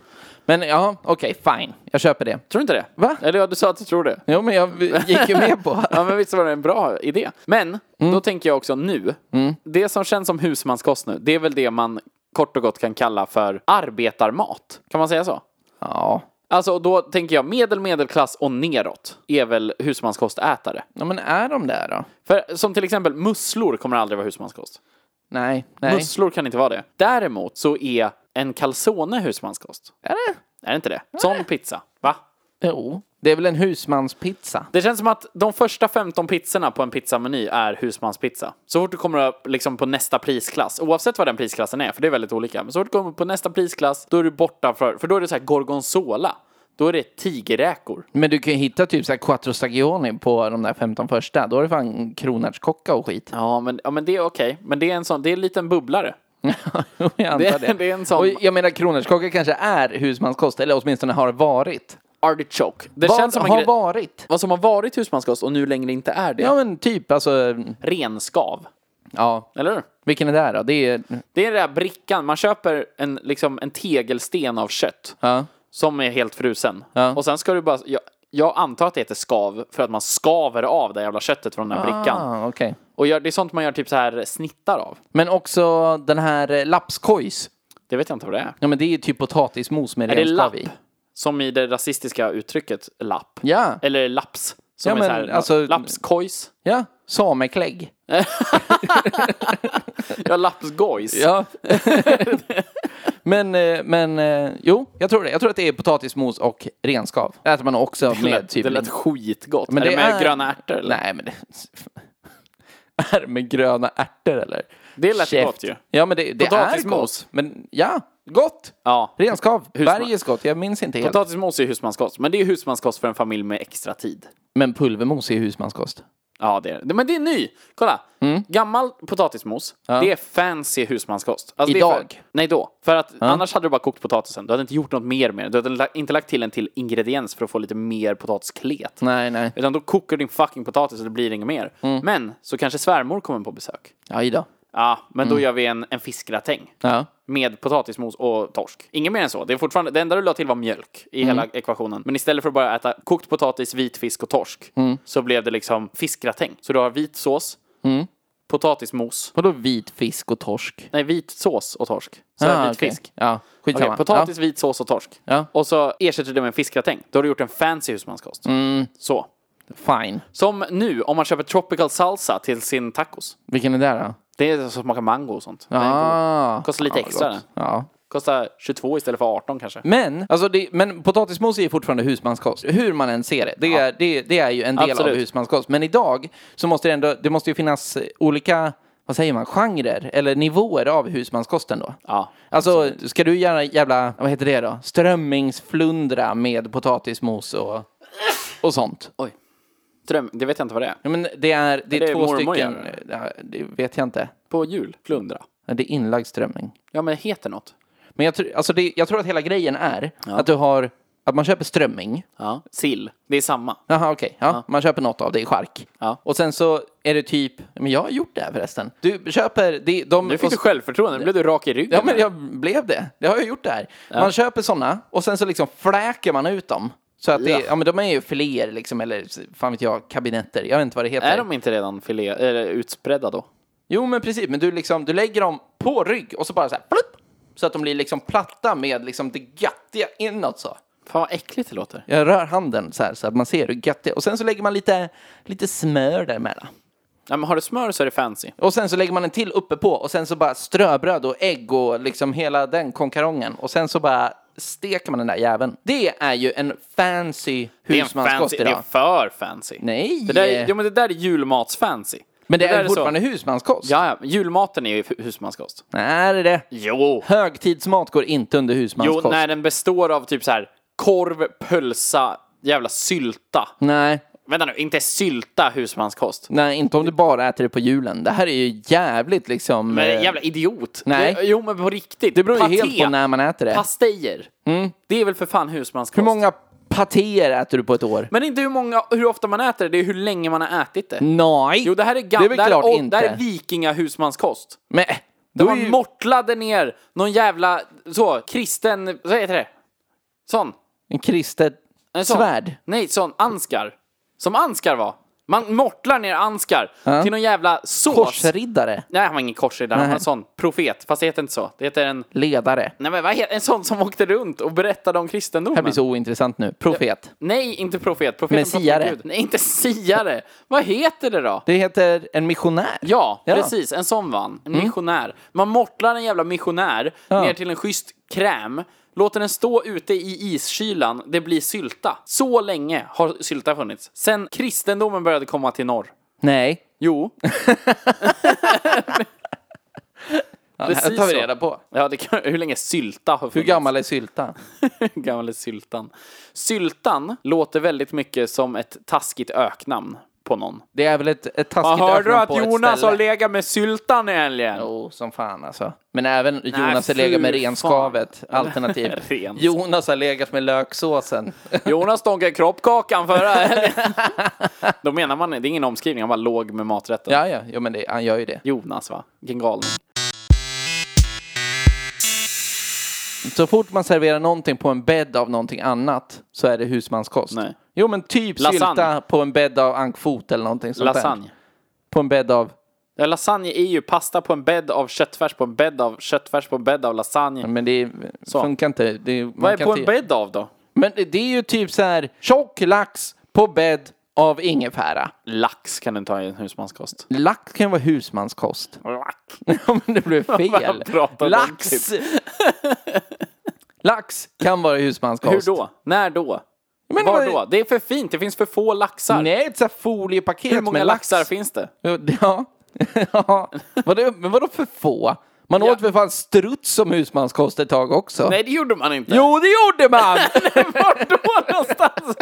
Speaker 2: Men ja, okej, fine. Jag köper det.
Speaker 1: Tror du inte det?
Speaker 2: Va?
Speaker 1: Eller ja, du sa att du tror det.
Speaker 2: Jo, men jag gick ju med på
Speaker 1: Ja men visst var det en bra idé. Men
Speaker 2: Mm.
Speaker 1: då tänker jag också nu. Det som känns som husmanskost nu, det är väl det man kort och gott kan kalla för arbetarmat. Kan man säga så?
Speaker 2: Ja.
Speaker 1: Alltså och då tänker jag medel, medelklass och neråt är väl husmanskostätare.
Speaker 2: ja, men är de där då?
Speaker 1: För som till exempel musslor kommer aldrig vara husmanskost.
Speaker 2: Nej, nej.
Speaker 1: Musslor kan inte vara det. Däremot så är en calzone husmanskost.
Speaker 2: Är det?
Speaker 1: Är det inte det? Sån pizza. Va?
Speaker 2: Jo. Det är väl en husmanspizza?
Speaker 1: Det känns som att de första 15 pizzorna på en pizzameny är husmanspizza. Så fort du kommer upp liksom på nästa prisklass, oavsett vad den prisklassen är, för det är väldigt olika, men så fort du kommer upp på nästa prisklass, då är du borta för, för då är det så här gorgonzola. Då är det tigerräkor.
Speaker 2: Men du kan ju hitta typ så här quattro stagioni på de där 15 första. Då är det fan kronärtskocka och skit.
Speaker 1: Ja, men, ja, men det är okej. Men det är en sån, det är en liten bubblare.
Speaker 2: jag antar det.
Speaker 1: Det- det är en sån-
Speaker 2: Och jag menar kronärtskocka kanske är husmanskost, eller åtminstone har varit.
Speaker 1: Artichoke. Det
Speaker 2: Vad
Speaker 1: känns som en
Speaker 2: har
Speaker 1: grej,
Speaker 2: varit?
Speaker 1: vad som har varit husmanskost och nu längre inte är det.
Speaker 2: Ja men typ alltså,
Speaker 1: Renskav.
Speaker 2: ja.
Speaker 1: Eller hur?
Speaker 2: Vilken är det här då? Det är,
Speaker 1: Det är den där brickan, man köper en, liksom, en tegelsten av kött.
Speaker 2: ja.
Speaker 1: Som är helt frusen.
Speaker 2: Ja.
Speaker 1: Och sen ska du bara... Jag, jag antar att det heter skav för att man skaver av det jävla köttet från den här brickan.
Speaker 2: Ah, okej.
Speaker 1: Och gör, det är sånt man gör typ så här snittar av.
Speaker 2: Men också den här eh, lapskojs.
Speaker 1: Det vet jag inte vad det är.
Speaker 2: Ja men det är ju typ potatismos med
Speaker 1: Är det
Speaker 2: renskav
Speaker 1: lapp?
Speaker 2: i.
Speaker 1: Som i det rasistiska uttrycket lapp.
Speaker 2: Ja.
Speaker 1: Eller laps. Som
Speaker 2: Ja, men
Speaker 1: är så här,
Speaker 2: alltså-
Speaker 1: lapskojs.
Speaker 2: Ja, sameklägg.
Speaker 1: Ja, lapsgojs.
Speaker 2: Ja. men, eh, men eh, jo, jag tror det. Jag tror att det är potatismos och renskav. Det äter man också
Speaker 1: det,
Speaker 2: med
Speaker 1: lät,
Speaker 2: typ...
Speaker 1: det lät skitgott.
Speaker 2: Men
Speaker 1: är det,
Speaker 2: det
Speaker 1: med
Speaker 2: är-
Speaker 1: gröna ärtor? Eller?
Speaker 2: Nej men det... Är det med gröna ärtor eller?
Speaker 1: Det lät
Speaker 2: Käft.
Speaker 1: gott ju.
Speaker 2: Ja men det, det är
Speaker 1: Potatismos.
Speaker 2: gott. Men ja, gott!
Speaker 1: Ja.
Speaker 2: Renskav,
Speaker 1: Husman-
Speaker 2: bergeskott, jag minns inte helt.
Speaker 1: Potatismos är husmanskost. Men det är husmanskost för en familj med extra tid.
Speaker 2: Men pulvermos är husmanskost.
Speaker 1: Ja, det är det. Men det är ny! Kolla! Gammal potatismos, det är fancy husmanskost. Alltså, Det är
Speaker 2: Idag.
Speaker 1: för, nej, då. För att annars hade du bara kokt potatisen. Du hade inte gjort något mer med den. Du hade la- inte lagt till en till ingrediens för att få lite mer potatisklet.
Speaker 2: Nej, nej.
Speaker 1: Utan då kokar du din fucking potatis och det blir inget mer. Men så kanske svärmor kommer på besök.
Speaker 2: Ja, idag.
Speaker 1: Ja, men då gör vi en, en fiskgratäng.
Speaker 2: Ja.
Speaker 1: Med potatismos och torsk. Inget mer än så. Det, är fortfarande, det enda du la till var mjölk i
Speaker 2: Mm.
Speaker 1: hela ekvationen. Men istället för att bara äta kokt potatis, vit fisk och torsk
Speaker 2: Mm.
Speaker 1: så blev det liksom fiskgratäng. Så du har vit sås,
Speaker 2: Mm.
Speaker 1: potatismos,
Speaker 2: Vadå vit fisk och torsk?
Speaker 1: nej vit sås och torsk. Så
Speaker 2: Ah,
Speaker 1: här, vit
Speaker 2: okej.
Speaker 1: fisk.
Speaker 2: Ja,
Speaker 1: Okej,
Speaker 2: skitsamma.
Speaker 1: potatis, vit sås och torsk.
Speaker 2: Ja.
Speaker 1: Och så ersätter du det med en fiskgratäng. Då har du gjort en fancy husmanskost.
Speaker 2: Mm.
Speaker 1: Så.
Speaker 2: Ja, fine.
Speaker 1: Som nu, om man köper tropical salsa till sin tacos.
Speaker 2: Vilken är det där då?
Speaker 1: Det är så smakar mango och sånt. Den är god.
Speaker 2: Ah,
Speaker 1: Kostar lite
Speaker 2: ja,
Speaker 1: extra
Speaker 2: gott.
Speaker 1: den.
Speaker 2: Ja.
Speaker 1: Kostar 22 istället för 18 kanske.
Speaker 2: Men, alltså det, men potatismos är ju fortfarande husmanskost. Hur man än ser det. Det, är, det, det är ju en del av
Speaker 1: Absolut.
Speaker 2: husmanskost. Men idag så måste det ändå, det måste ju finnas olika, vad säger man, genrer eller nivåer av husmanskosten då.
Speaker 1: Ja.
Speaker 2: Alltså, ska du göra jävla, vad heter det då? Strömmingsflundra med potatismos och, och sånt.
Speaker 1: Oj. Dröm, det vet jag inte vad det är.
Speaker 2: Ja, men det är, det är,
Speaker 1: Är det
Speaker 2: två
Speaker 1: mormor
Speaker 2: stycken,
Speaker 1: gör
Speaker 2: ja, det vet jag inte.
Speaker 1: På jul? Flundra?
Speaker 2: Men Det är inlagd strömming.
Speaker 1: Ja, men det heter något.
Speaker 2: Men jag, tror- alltså det, jag tror att hela grejen är att du har, att man köper strömming.
Speaker 1: Ja. Sill. Det är samma.
Speaker 2: Jaha, okej. Ja, Man köper något av det i chark.
Speaker 1: Ja.
Speaker 2: Och sen så är det typ, men jag har gjort det här förresten. Du köper, det, de...
Speaker 1: Nu fick
Speaker 2: och-
Speaker 1: du självförtroende, nu blev du rak i ryggen.
Speaker 2: Ja, men
Speaker 1: här.
Speaker 2: jag blev det. Det har jag gjort det här. Man köper sådana och sen så liksom fläker man ut dem. Så att det, ja.
Speaker 1: Ja.
Speaker 2: men de är ju filéer liksom, eller fan vet jag, kabinetter. Jag vet inte vad det heter.
Speaker 1: Är de inte redan filé, eller utspredda då?
Speaker 2: Jo, men precis. Men du, liksom, du lägger dem på rygg och så bara så här, plupp, Så att de blir liksom platta med liksom det gattiga inåt så.
Speaker 1: Fan vad äckligt det låter.
Speaker 2: Jag rör handen så här så att man ser hur gött det är. Och sen så lägger man lite, lite smör däremellan.
Speaker 1: Ja, men har du smör så är det fancy.
Speaker 2: Och sen så lägger man en till uppe på och sen så bara ströbröd och ägg och liksom hela den konkarongen. Och sen så bara steker man den där jäveln. Det är ju en fancy
Speaker 1: Det är, en fancy,
Speaker 2: husmanskost
Speaker 1: det är
Speaker 2: idag.
Speaker 1: för fancy.
Speaker 2: Nej!
Speaker 1: Det där, jo, men det där är julmatsfancy.
Speaker 2: men det,
Speaker 1: där
Speaker 2: är
Speaker 1: så-
Speaker 2: fortfarande husmanskost.
Speaker 1: Ja, ja, men julmaten är ju hu- husmanskost.
Speaker 2: Nej, det är det.
Speaker 1: Jo.
Speaker 2: Högtidsmat går inte under
Speaker 1: Jo,
Speaker 2: husmanskost.
Speaker 1: när den består av typ så här korv, pölsa, jävla sylta.
Speaker 2: nej.
Speaker 1: Vänta nu, inte sylta husmanskost.
Speaker 2: Nej, inte om du bara äter det på julen. Det här är ju jävligt liksom...
Speaker 1: Men
Speaker 2: eh,
Speaker 1: jävla idiot.
Speaker 2: Nej.
Speaker 1: Det, jo, men på riktigt.
Speaker 2: Det beror ju helt på när man äter det.
Speaker 1: Pastejer. Det är väl för fan husmanskost.
Speaker 2: Hur många patéer äter du på ett år?
Speaker 1: Men inte hur, många, hur ofta man äter det, det är hur länge man har ätit det.
Speaker 2: Nej!
Speaker 1: Jo, det här är
Speaker 2: Mm. Det är
Speaker 1: gamla,
Speaker 2: väl
Speaker 1: det, här
Speaker 2: klart
Speaker 1: är old-
Speaker 2: inte.
Speaker 1: det här är vikingahusmanskost.
Speaker 2: Men,
Speaker 1: Där
Speaker 2: då är
Speaker 1: man
Speaker 2: ju...
Speaker 1: mortlade ner någon jävla, så, kristen, vad heter det? Sån.
Speaker 2: En kristet
Speaker 1: En sån.
Speaker 2: svärd.
Speaker 1: Nej, sån anskar. Som anskar var. Man mortlar ner anskar till någon jävla sås.
Speaker 2: Korsriddare.
Speaker 1: Nej, han var ingen korsriddare, han var
Speaker 2: Nej.
Speaker 1: en sån profet. Fast det heter inte så. Det heter en...
Speaker 2: Ledare.
Speaker 1: Nej men vad heter en sån som åkte runt och berättade om kristendomen?
Speaker 2: Det här blir så ointressant nu. Profet.
Speaker 1: Nej, inte profet. Profeten
Speaker 2: Men
Speaker 1: pratar med
Speaker 2: siare.
Speaker 1: Gud. Nej, inte siare. vad heter det då?
Speaker 2: Det heter en missionär.
Speaker 1: Ja,
Speaker 2: Ja. Mm.
Speaker 1: precis. En sån vann. En missionär. Man mortlar en jävla missionär ner till en schysst kräm. Låter den stå ute i iskylan, det blir sylta. Så länge har sylta funnits. Sen kristendomen började komma till norr.
Speaker 2: Nej.
Speaker 1: Jo,
Speaker 2: Ja, det
Speaker 1: precis
Speaker 2: här tar vi
Speaker 1: så.
Speaker 2: reda på.
Speaker 1: Ja, det kan, hur länge sylta har funnits.
Speaker 2: Hur gammal är sylta?
Speaker 1: Hur gammal är syltan? Syltan låter väldigt mycket som ett taskigt öknamn på någon.
Speaker 2: Det är väl ett, ett taskigt
Speaker 1: Hörde du
Speaker 2: öknamn
Speaker 1: att
Speaker 2: på ett
Speaker 1: Jonas
Speaker 2: ställe.
Speaker 1: har legat med syltan i helgen?
Speaker 2: Jo, som fan alltså. Men även Jonas har
Speaker 1: fy
Speaker 2: legat med
Speaker 1: fan.
Speaker 2: renskavet. Alternativ.
Speaker 1: Renskav.
Speaker 2: Jonas har legat med löksåsen.
Speaker 1: Jonas stånkade kroppkakan förra helgen. Då menar man, det är ingen omskrivning, han var låg med maträtten.
Speaker 2: ja, ja, jo, men det, han gör ju det.
Speaker 1: Jonas va? Vilken galning.
Speaker 2: Så fort man serverar någonting på en bädd av någonting annat så är det husmanskost.
Speaker 1: Nej.
Speaker 2: Jo, men typ
Speaker 1: Lasagne.
Speaker 2: sylta på en bädd av ankfot eller någonting sånt där.
Speaker 1: Lasagne.
Speaker 2: På en bädd av...
Speaker 1: Ja, lasagne är ju pasta på en bädd av köttfärs på en bädd av köttfärs på en bädd av lasagne.
Speaker 2: Men det funkar inte. Det, är- man
Speaker 1: Vad är
Speaker 2: Mm, kan
Speaker 1: på
Speaker 2: inte,
Speaker 1: en bädd av då?
Speaker 2: Men det- det är ju typ så här tjock lax på bädd av ingefära.
Speaker 1: Lax kan du ta i en husmanskost.
Speaker 2: Lax kan vara husmanskost. Ja, men det blev fel.
Speaker 1: pratar de typ?
Speaker 2: Lax! Lax kan vara husmanskost.
Speaker 1: Hur då? När då?
Speaker 2: Men
Speaker 1: Var
Speaker 2: vad-
Speaker 1: då? Det är för fint, det finns för få laxar.
Speaker 2: Nej, ett sånt här foliepaket
Speaker 1: Hur många
Speaker 2: med lax.
Speaker 1: laxar finns det?
Speaker 2: Jo, det- Ja. ja. Vadå, men vadå för få? Man
Speaker 1: Ja.
Speaker 2: åt väl fan struts som husmanskost ett tag också?
Speaker 1: Nej, det gjorde man inte.
Speaker 2: Jo, det gjorde man!
Speaker 1: Vart då någonstans?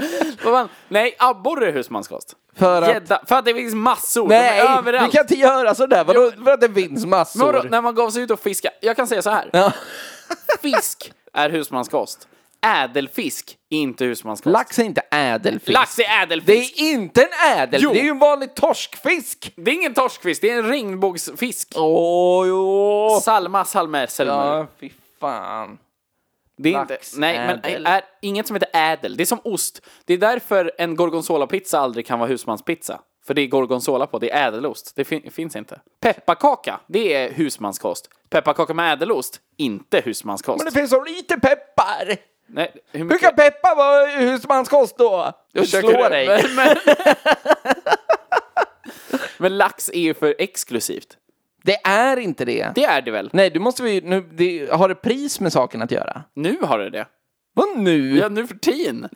Speaker 1: Vad fan? Nej, abborre är husmanskost.
Speaker 2: För att-
Speaker 1: Gädda. För att det finns massor.
Speaker 2: Nej,
Speaker 1: de är
Speaker 2: vi
Speaker 1: överallt.
Speaker 2: kan inte göra sådär. Vadå, för att det finns
Speaker 1: Men vadå,
Speaker 2: massor.
Speaker 1: när man gav sig ut och fiska. Jag kan säga så här.
Speaker 2: Ja.
Speaker 1: Fisk är husmanskost. Ädelfisk är inte husmanskost.
Speaker 2: Lax är inte ädelfisk.
Speaker 1: Lax är
Speaker 2: Det
Speaker 1: ädelfisk.
Speaker 2: är inte en ädel,
Speaker 1: Jo.
Speaker 2: det är ju en vanlig torskfisk!
Speaker 1: Det är ingen torskfisk, det är en regnbågsfisk.
Speaker 2: Åh, jo.
Speaker 1: Salma salmer
Speaker 2: Ja, fy fan.
Speaker 1: Det är
Speaker 2: Lax,
Speaker 1: inte, nej, men
Speaker 2: ädel.
Speaker 1: är, inget som heter ädel. Det är som ost. Det är därför en gorgonzola-pizza aldrig kan vara husmanspizza. För det är gorgonzola på, det är ädelost. Det fin- finns inte. Pepparkaka, det är husmanskost. Pepparkaka med ädelost, inte husmanskost.
Speaker 2: Men det finns så lite peppar!
Speaker 1: nej, hur
Speaker 2: Hur
Speaker 1: mycket...
Speaker 2: kan peppar vara husmanskost då? Jag
Speaker 1: försöker du- Men, men... men lax är ju för exklusivt.
Speaker 2: Det är inte det.
Speaker 1: Det är det väl?
Speaker 2: Nej, du måste vi nu, det, har det pris med saken att göra?
Speaker 1: Nu har det det.
Speaker 2: Vad nu?
Speaker 1: Ja, nu för tiden.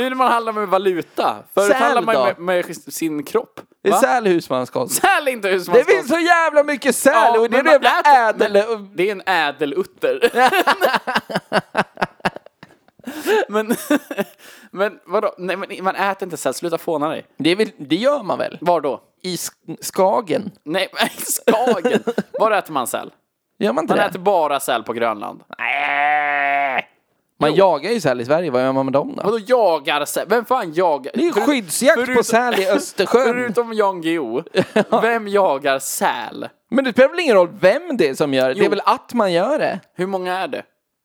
Speaker 1: nu när man handlar med valuta. Förut
Speaker 2: Säl
Speaker 1: handlar man
Speaker 2: då?
Speaker 1: med, med sin kropp.
Speaker 2: det är
Speaker 1: Va?
Speaker 2: säl husmanskost.
Speaker 1: Säl inte
Speaker 2: Det
Speaker 1: husmanskost.
Speaker 2: finns så jävla mycket säl
Speaker 1: Ja,
Speaker 2: och det är
Speaker 1: men
Speaker 2: det
Speaker 1: man
Speaker 2: jävla
Speaker 1: äter-
Speaker 2: ädel...
Speaker 1: men Det är en ädelutter. men, men vadå? Nej, men man äter inte säl. Sluta fåna dig.
Speaker 2: Det, är väl, det gör man väl?
Speaker 1: Var då?
Speaker 2: I sk- Skagen?
Speaker 1: Nej, men Skagen. Var äter man säl?
Speaker 2: Gör man inte
Speaker 1: Man
Speaker 2: det?
Speaker 1: äter bara säl på Grönland.
Speaker 2: Man jagar ju säl i Sverige, vad gör man med dem då?
Speaker 1: Vadå jagar säl? Vem fan jagar?
Speaker 2: Det är ju
Speaker 1: Förut-
Speaker 2: skyddsjakt på
Speaker 1: förut-
Speaker 2: säl i Östersjön.
Speaker 1: Förutom Jan Guillou. Vem jagar säl?
Speaker 2: Men det spelar väl ingen roll vem det är som gör det? Det
Speaker 1: Jo.
Speaker 2: är väl att man gör det?
Speaker 1: Hur många är det?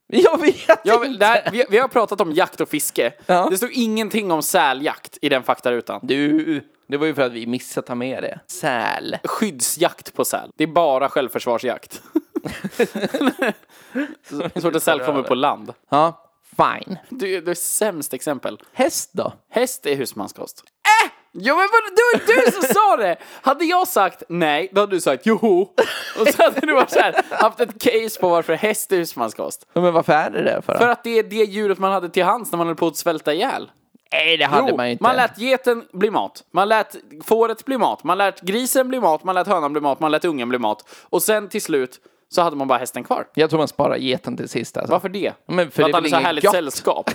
Speaker 2: Jag vet
Speaker 1: Jag, vill-
Speaker 2: inte.
Speaker 1: det här, vi, vi har pratat om jakt och fiske.
Speaker 2: Ja.
Speaker 1: Det stod ingenting om säljakt i den faktarutan.
Speaker 2: Du, det var ju för att vi missade ta med det. Säl.
Speaker 1: skyddsjakt på säl. Det är bara självförsvarsjakt. Så fort en säl kommer på land.
Speaker 2: Ja. fine.
Speaker 1: Du, du är sämst exempel.
Speaker 2: Häst då?
Speaker 1: Häst är husmanskost. Äh! Ja men vad, det var ju du som sa det! Hade jag sagt nej, då hade du sagt joho. Och så hade du varit så här, haft ett case på varför häst är husmanskost.
Speaker 2: Ja, Men varför är det det för? då?
Speaker 1: För att det är det djuret man hade till hands när man höll på att svälta ihjäl.
Speaker 2: Nej, det hade
Speaker 1: Jo,
Speaker 2: man ju inte.
Speaker 1: man lät geten bli mat, man lät fåret bli mat, man lät grisen bli mat, man lät hönan bli mat, man lät ungen bli mat. Och sen till slut så hade man bara hästen kvar.
Speaker 2: Jag tror man sparar geten till sist. Alltså.
Speaker 1: Varför det?
Speaker 2: Men för
Speaker 1: för
Speaker 2: det är
Speaker 1: att han är
Speaker 2: väl
Speaker 1: så
Speaker 2: inget
Speaker 1: härligt
Speaker 2: gott.
Speaker 1: sällskap.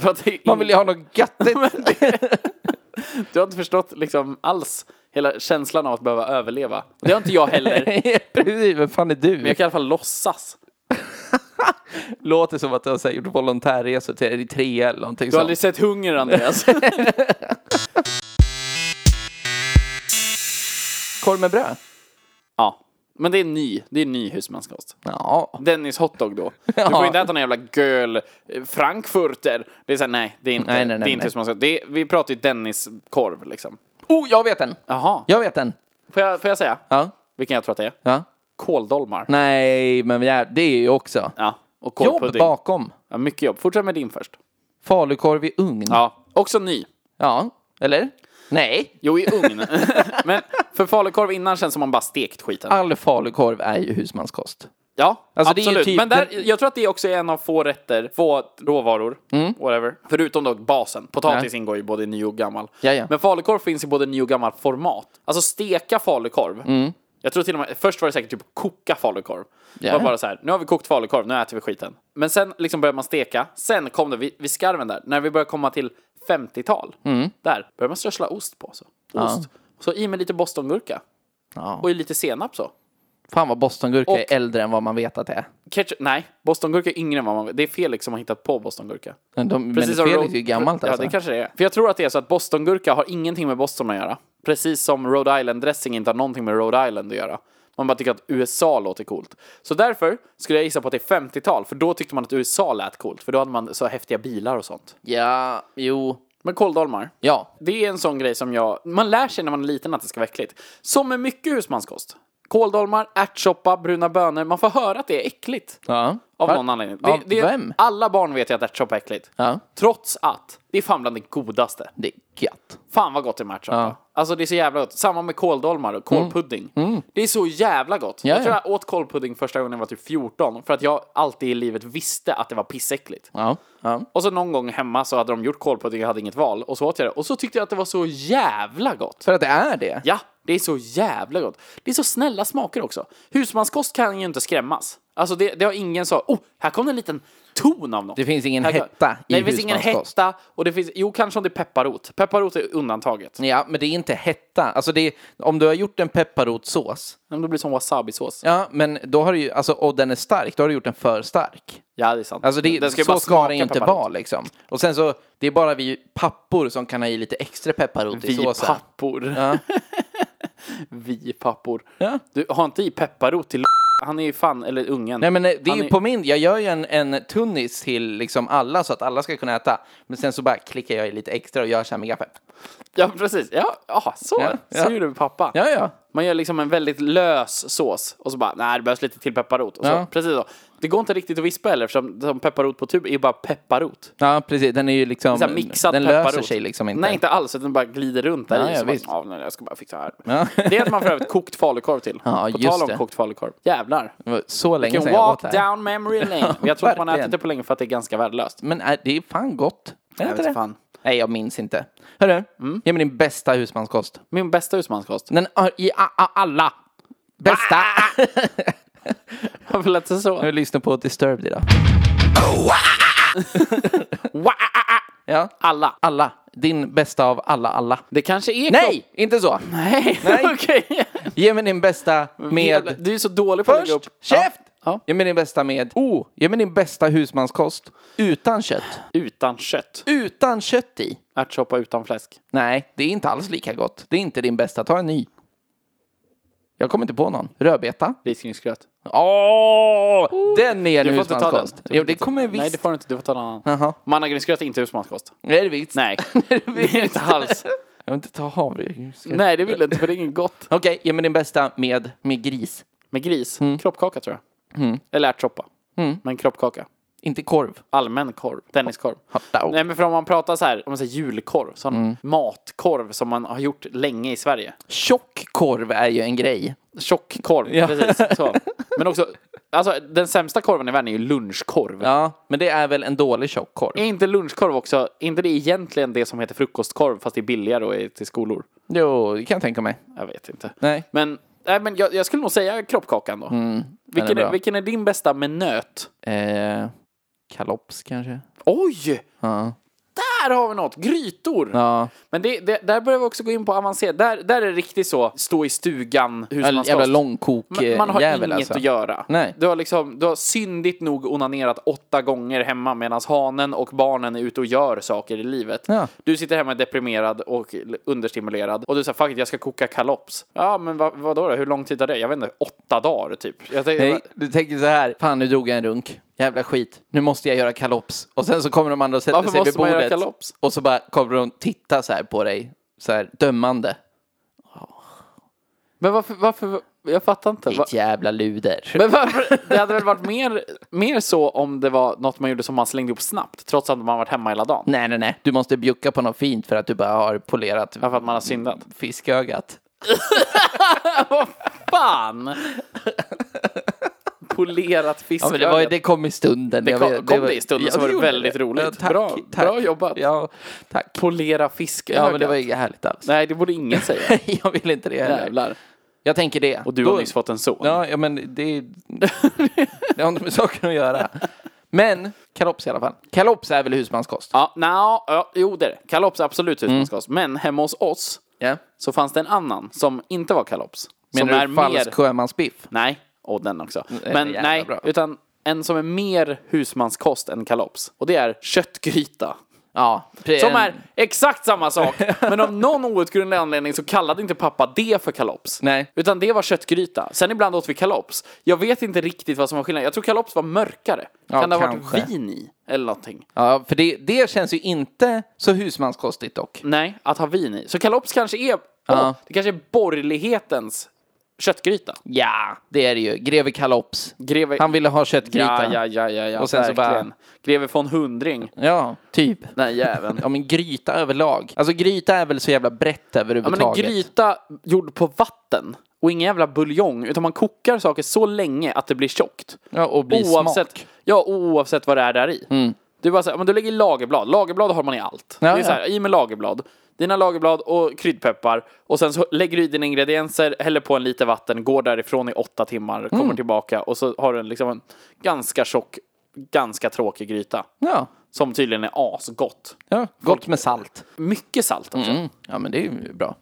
Speaker 1: för att det är
Speaker 2: Man vill ju ha något göttigt.
Speaker 1: Du har inte förstått liksom alls hela känslan av att behöva överleva. Det har inte jag heller.
Speaker 2: Precis, vem fan är du?
Speaker 1: Men jag kan i alla fall låtsas.
Speaker 2: Låter som att du har så här, gjort volontärresor till Eritrea eller någonting
Speaker 1: Du
Speaker 2: sånt.
Speaker 1: har aldrig sett hunger, Andreas.
Speaker 2: Korv med bröd?
Speaker 1: ja. Men det är ny, det är ny husmanskost.
Speaker 2: Ja.
Speaker 1: Dennis hotdog då. Du får
Speaker 2: Ja.
Speaker 1: inte äta någon jävla göl eh, frankfurter. Det är såhär, nej, det är inte,
Speaker 2: Nej, nej, nej,
Speaker 1: det är inte
Speaker 2: nej.
Speaker 1: husmanskost. Det är, vi pratar ju Dennis-korv liksom.
Speaker 2: Oh, jag vet en!
Speaker 1: Jaha.
Speaker 2: Jag vet en.
Speaker 1: Får, jag, får jag säga?
Speaker 2: Ja.
Speaker 1: Vilken jag tror att det är?
Speaker 2: ja.
Speaker 1: Kåldolmar.
Speaker 2: Nej, men jä- det är ju också.
Speaker 1: Ja. Och
Speaker 2: Jobb
Speaker 1: kålpudding.
Speaker 2: bakom.
Speaker 1: Ja, mycket jobb. Fortsätt med din först.
Speaker 2: Falukorv i ugn. Ja.
Speaker 1: Ja. Också ny.
Speaker 2: Eller? Nej.
Speaker 1: Jo, i ugn. Men för falukorv innan känns som man bara stekt skiten.
Speaker 2: All falukorv är ju husmanskost.
Speaker 1: Ja,
Speaker 2: Alltså, det är ju
Speaker 1: absolut.
Speaker 2: typ
Speaker 1: Men där,
Speaker 2: den-
Speaker 1: jag tror att det också är en av få rätter, få råvaror, whatever. Förutom då basen. Potatis
Speaker 2: Mm. Ja.
Speaker 1: ingår ju både i ny och gammal.
Speaker 2: Jaja.
Speaker 1: Men falukorv finns i både ny och gammal format. Alltså steka falukorv.
Speaker 2: Mm.
Speaker 1: Jag tror till och med, först var det säkert typ koka falukorv. Det var
Speaker 2: Jaja.
Speaker 1: bara så här, nu har vi kokt falukorv, nu äter vi skiten. Men sen liksom började man steka, sen kom det vid, vid skarven där, när vi började komma till 50-tal,
Speaker 2: Mm.
Speaker 1: där började man strössla ost på. Så. Ost. Så i med lite bostongurka.
Speaker 2: Ja.
Speaker 1: Och i lite senap så.
Speaker 2: Fan vad bostongurka
Speaker 1: Och-
Speaker 2: är äldre än vad man vet att det är.
Speaker 1: Ketchup, nej, bostongurka är yngre än vad man vet. Det är Felix som har hittat på bostongurka.
Speaker 2: Men, de, men
Speaker 1: Precis som
Speaker 2: Felix
Speaker 1: Rhode-
Speaker 2: är ju gammalt alltså.
Speaker 1: Ja, det kanske det är. För jag tror att det är så att bostongurka har ingenting med Boston att göra. Precis som Rhode Island-dressing inte har någonting med Rhode Island att göra. Man bara tycker att USA låter coolt. Så därför skulle jag gissa på att det är 50-tal, för då tyckte man att USA lät coolt. För då hade man så häftiga bilar och sånt.
Speaker 2: Ja, jo.
Speaker 1: Men kåldolmar.
Speaker 2: Ja.
Speaker 1: Det är en sån grej som jag... Man lär sig när man är liten att det ska vara äckligt. Som med mycket husmanskost. Kåldolmar, ärtsoppa, bruna bönor. Man får höra att det är äckligt.
Speaker 2: ja.
Speaker 1: Av
Speaker 2: Va?
Speaker 1: någon anledning.
Speaker 2: Av
Speaker 1: det, det,
Speaker 2: vem?
Speaker 1: Alla barn vet ju att ärtsoppa är äckligt.
Speaker 2: Ja.
Speaker 1: Trots att det är fan bland det godaste.
Speaker 2: Det är gött.
Speaker 1: Fan vad gott det är med ärtsoppa.
Speaker 2: Ja. Mm.
Speaker 1: Alltså det är så jävla gott. Samma med kåldolmar och kålpudding. Det är så jävla gott.
Speaker 2: Ja,
Speaker 1: jag tror
Speaker 2: ja.
Speaker 1: jag åt kålpudding första gången jag var typ 14. För att jag alltid i livet visste att det var pissäckligt.
Speaker 2: Ja. ja.
Speaker 1: Och så någon gång hemma så hade de gjort kålpudding och jag hade inget val. Och så åt jag det. Och så tyckte jag att det var så jävla gott.
Speaker 2: För att det är det.
Speaker 1: Ja, det är så jävla gott. Det är så snälla smaker också. Husmanskost kan ju inte skrämmas. Alltså det, det har ingen så, oh, här kom det en liten ton av något.
Speaker 2: Det finns ingen
Speaker 1: Här-
Speaker 2: hetta i
Speaker 1: Nej, det finns ingen
Speaker 2: husmanskost.
Speaker 1: hetta. Och det finns, jo, kanske om det är pepparrot. Pepparrot är undantaget.
Speaker 2: Ja, men det är inte hetta. Alltså det är, om du har gjort en pepparrotsås,
Speaker 1: Men då blir det som wasabisås. Ja.
Speaker 2: ja, men då har du ju, alltså, och den är stark, då har du gjort den för stark.
Speaker 1: ja, det är sant.
Speaker 2: Alltså det,
Speaker 1: Den ju
Speaker 2: så
Speaker 1: bara
Speaker 2: ska det
Speaker 1: smaka
Speaker 2: ju inte
Speaker 1: pepparrot.
Speaker 2: vara liksom. Och sen så, det är bara vi pappor som kan ha i lite extra pepparrot i
Speaker 1: Vi
Speaker 2: såsen.
Speaker 1: pappor. Vi pappor.
Speaker 2: Ja.
Speaker 1: Du, har inte i pepparrot till Han är ju fan, eller ungen.
Speaker 2: Nej men eh, det är
Speaker 1: Han
Speaker 2: ju på min, jag gör ju en, en tunnis till liksom alla så att alla ska kunna äta. Men sen så bara klickar jag i lite extra och gör så här med gaffel.
Speaker 1: Ja, precis. Ja, ja så.
Speaker 2: Ja,
Speaker 1: Så
Speaker 2: ja.
Speaker 1: gjorde min pappa.
Speaker 2: Ja, ja.
Speaker 1: Man gör liksom en väldigt lös sås och så bara, nej det behövs lite till pepparrot. Och så,
Speaker 2: Ja.
Speaker 1: Precis så. Det går inte riktigt att vispa heller eftersom som pepparrot på tub är ju bara pepparrot.
Speaker 2: Ja, precis. Den är ju liksom,
Speaker 1: Så här mixad
Speaker 2: den
Speaker 1: pepparrot.
Speaker 2: löser sig liksom inte.
Speaker 1: Nej, inte alls. Utan den bara glider runt där
Speaker 2: Ja,
Speaker 1: i.
Speaker 2: ja,
Speaker 1: Så bara,
Speaker 2: visst.
Speaker 1: ja, nej, jag ska bara fixa det här.
Speaker 2: Ja.
Speaker 1: Det äter man för övrigt kokt falukorv till.
Speaker 2: Ja,
Speaker 1: på
Speaker 2: just
Speaker 1: tal om
Speaker 2: det.
Speaker 1: kokt falukorv. Jävlar.
Speaker 2: Det var så länge
Speaker 1: Vilken
Speaker 2: sedan jag åt
Speaker 1: walk
Speaker 2: det här.
Speaker 1: down memory lane. Jag tror inte man har
Speaker 2: verkligen.
Speaker 1: ätit det på länge för att det är ganska värdelöst.
Speaker 2: Men äh, det är fan gott. Är
Speaker 1: Jag
Speaker 2: det
Speaker 1: vet
Speaker 2: inte det?
Speaker 1: fan.
Speaker 2: Nej, jag minns inte. Hörru, ge mig din bästa husmanskost.
Speaker 1: Min bästa husmanskost.
Speaker 2: Den har i a, a, alla. Bästa!
Speaker 1: Varför lät det så?
Speaker 2: Jag lyssnar på Disturbed idag.
Speaker 1: Wa- ah, ah, ah.
Speaker 2: Ja,
Speaker 1: Alla.
Speaker 2: alla. Din bästa av alla, alla.
Speaker 1: Det kanske är
Speaker 2: Nej, inte så.
Speaker 1: Nej!
Speaker 2: Nej.
Speaker 1: Okej.
Speaker 2: Ge mig din bästa med...
Speaker 1: Du är så dålig på att lägga
Speaker 2: Först,
Speaker 1: upp.
Speaker 2: käft!
Speaker 1: Ja.
Speaker 2: Ge mig din bästa med... Oh, ge mig din bästa husmanskost. Utan kött.
Speaker 1: Utan kött.
Speaker 2: Utan kött i.
Speaker 1: Ärtsoppa utan fläsk.
Speaker 2: Nej, det är inte alls lika gott. Det är inte din bästa. Ta en ny. Jag kommer inte på någon. Rödbeta.
Speaker 1: Risgrynsgröt.
Speaker 2: Åh! Den är en husmanskost.
Speaker 1: Du får
Speaker 2: Jo,
Speaker 1: inte
Speaker 2: det
Speaker 1: ta-
Speaker 2: kommer jag visst.
Speaker 1: Nej, det får du inte. Du får ta någon annan.
Speaker 2: Jaha.
Speaker 1: Mannagrynsgröt är inte husmanskost.
Speaker 2: Nej, det är visst.
Speaker 1: Nej,
Speaker 2: det
Speaker 1: det är inte alls.
Speaker 2: Jag vill inte ta havre. Okej,
Speaker 1: Nej, det vill jag inte för det är inget gott.
Speaker 2: ge mig din bästa med, med gris. Mm.
Speaker 1: Med gris. Kroppkaka tror jag. Eller ärtsoppa. Men kroppkaka.
Speaker 2: Inte korv.
Speaker 1: Allmän korv. Tenniskorv.
Speaker 2: Hotdog.
Speaker 1: Nej men för om man pratar så här, om man säger julkorv, sån
Speaker 2: Mm.
Speaker 1: matkorv som man har gjort länge i Sverige.
Speaker 2: Tjock korv är ju en grej.
Speaker 1: Tjock korv,
Speaker 2: Ja.
Speaker 1: precis. Så. Men också, alltså den sämsta korven i världen är ju lunchkorv.
Speaker 2: Ja, men det är väl en dålig tjock korv?
Speaker 1: Är inte lunchkorv också, är inte det egentligen det som heter frukostkorv fast det är billigare och är till skolor?
Speaker 2: Jo, det kan jag tänka mig.
Speaker 1: Jag vet inte.
Speaker 2: Nej. Mm.
Speaker 1: Men, nej, men jag, jag skulle nog säga kroppkakan då. vilken,
Speaker 2: är
Speaker 1: är
Speaker 2: bra.
Speaker 1: vilken är din bästa med nöt?
Speaker 2: Eh, kalops kanske?
Speaker 1: Oj!
Speaker 2: Ja.
Speaker 1: Där har vi något! Grytor!
Speaker 2: Ja,
Speaker 1: Men det, det, där börjar vi också gå in på avancerat. Där, där är det riktigt så, stå i stugan, hur
Speaker 2: en
Speaker 1: man ska...
Speaker 2: jävla långkok
Speaker 1: man, man har
Speaker 2: jävel,
Speaker 1: inget
Speaker 2: alltså.
Speaker 1: att göra.
Speaker 2: Nej.
Speaker 1: Du har liksom, du har syndigt nog onanerat åtta gånger hemma medan hanen och barnen är ute och gör saker i livet.
Speaker 2: Ja.
Speaker 1: Du sitter hemma deprimerad och l- understimulerad och du säger fuck it, jag ska koka kalops. Ja, men vad, vadå då? Hur lång tid tar det? Jag vet inte, åtta dagar typ. Jag tänkte,
Speaker 2: Nej, du tänker så här. Fan, nu drog jag en runk. Jävla skit. Nu måste jag göra kalops. Och sen så kommer de andra och sätter
Speaker 1: Varför
Speaker 2: sig vid
Speaker 1: måste man göra
Speaker 2: bordet.
Speaker 1: kalops?
Speaker 2: Och så bara kommer de titta så här på dig. Så här dömande.
Speaker 1: Men varför, varför, jag fattar inte. Va-
Speaker 2: Ditt jävla luder.
Speaker 1: Men varför? Det hade väl varit mer, mer så om det var något man gjorde som man slängde ihop snabbt, trots att man varit hemma hela dagen.
Speaker 2: Nej, nej, nej. Du måste bjucka på något fint för att du bara har polerat
Speaker 1: För att man har syndat.
Speaker 2: fiskögat.
Speaker 1: Fan! Polerat
Speaker 2: Ja,
Speaker 1: fisköga.
Speaker 2: men det, var, det kom i stunden.
Speaker 1: Det
Speaker 2: Jag
Speaker 1: kom-
Speaker 2: vet-
Speaker 1: kom
Speaker 2: var-
Speaker 1: det i stunden så var det
Speaker 2: gjorde
Speaker 1: väldigt roligt.
Speaker 2: tack,
Speaker 1: Bra-
Speaker 2: tack.
Speaker 1: bra jobbat.
Speaker 2: Ja, tack.
Speaker 1: Polera fisköga.
Speaker 2: Ja, men det var ju härligt alls.
Speaker 1: Nej, det borde ingen säga.
Speaker 2: jag vill inte det heller.
Speaker 1: Jävlar.
Speaker 2: Jag tänker det.
Speaker 1: Och du har nyss fått en son.
Speaker 2: Ja, ja men det, det har inte med saken att göra. Men kalops i alla fall. Kalops är väl husmanskost?
Speaker 1: Ja, nja, ja, jo det är det. Kalops är absolut husmanskost. Men hemma hos oss
Speaker 2: Mm. Ja.
Speaker 1: så fanns det en annan som inte var kalops.
Speaker 2: Menar
Speaker 1: som
Speaker 2: du falsk sjömansbiff?
Speaker 1: Nej, och den också.
Speaker 2: är
Speaker 1: Men
Speaker 2: jävla
Speaker 1: nej,
Speaker 2: bra.
Speaker 1: utan en som är mer husmanskost än kalops. Och det är köttgryta.
Speaker 2: Ja. pre-
Speaker 1: Som är exakt samma sak. Men av någon outgrundlig anledning så kallade inte pappa det för kalops.
Speaker 2: Nej.
Speaker 1: Utan det var köttgryta. Sen ibland åt vi kalops. Jag vet inte riktigt vad som var skillnaden. Jag tror kalops var mörkare.
Speaker 2: Ja,
Speaker 1: kan det ha
Speaker 2: kanske.
Speaker 1: varit vin i? Eller någonting.
Speaker 2: Ja, för det, det känns ju inte så husmanskostigt dock.
Speaker 1: Nej, att ha vin i. Så kalops kanske är,
Speaker 2: Ja.
Speaker 1: Åh, det kanske är borgerlighetens köttgryta.
Speaker 2: Ja, det är det ju. Greve Kalops.
Speaker 1: Greve...
Speaker 2: Han ville ha köttgryta.
Speaker 1: Ja, ja, ja, ja, ja.
Speaker 2: Och sen så bara-
Speaker 1: verkligen. Greve von Hundring.
Speaker 2: Ja, typ.
Speaker 1: Den här jäveln.
Speaker 2: Ja, men gryta överlag. Alltså gryta är väl så jävla brett
Speaker 1: Ja, men en
Speaker 2: överhuvudtaget.
Speaker 1: gryta gjord på vatten och ingen jävla buljong, utan man kokar saker så länge att det blir tjockt.
Speaker 2: Ja, och blir
Speaker 1: oavsett,
Speaker 2: smak. Mm.
Speaker 1: Ja, och oavsett vad det är där i. Du, bara så här, men du lägger i lagerblad, lagerblad har man i allt.
Speaker 2: Ja,
Speaker 1: det är
Speaker 2: ja.
Speaker 1: så här, I med lagerblad, dina lagerblad och kryddpeppar och sen så lägger du i dina ingredienser, häller på en liter vatten, går därifrån i åtta timmar, kommer
Speaker 2: Mm.
Speaker 1: tillbaka och så har du en, liksom en ganska tjock, ganska tråkig gryta.
Speaker 2: Ja,
Speaker 1: Som tydligen är asgott.
Speaker 2: ja. gott med salt.
Speaker 1: Mycket salt också.
Speaker 2: Mm. Ja, men det är ju bra.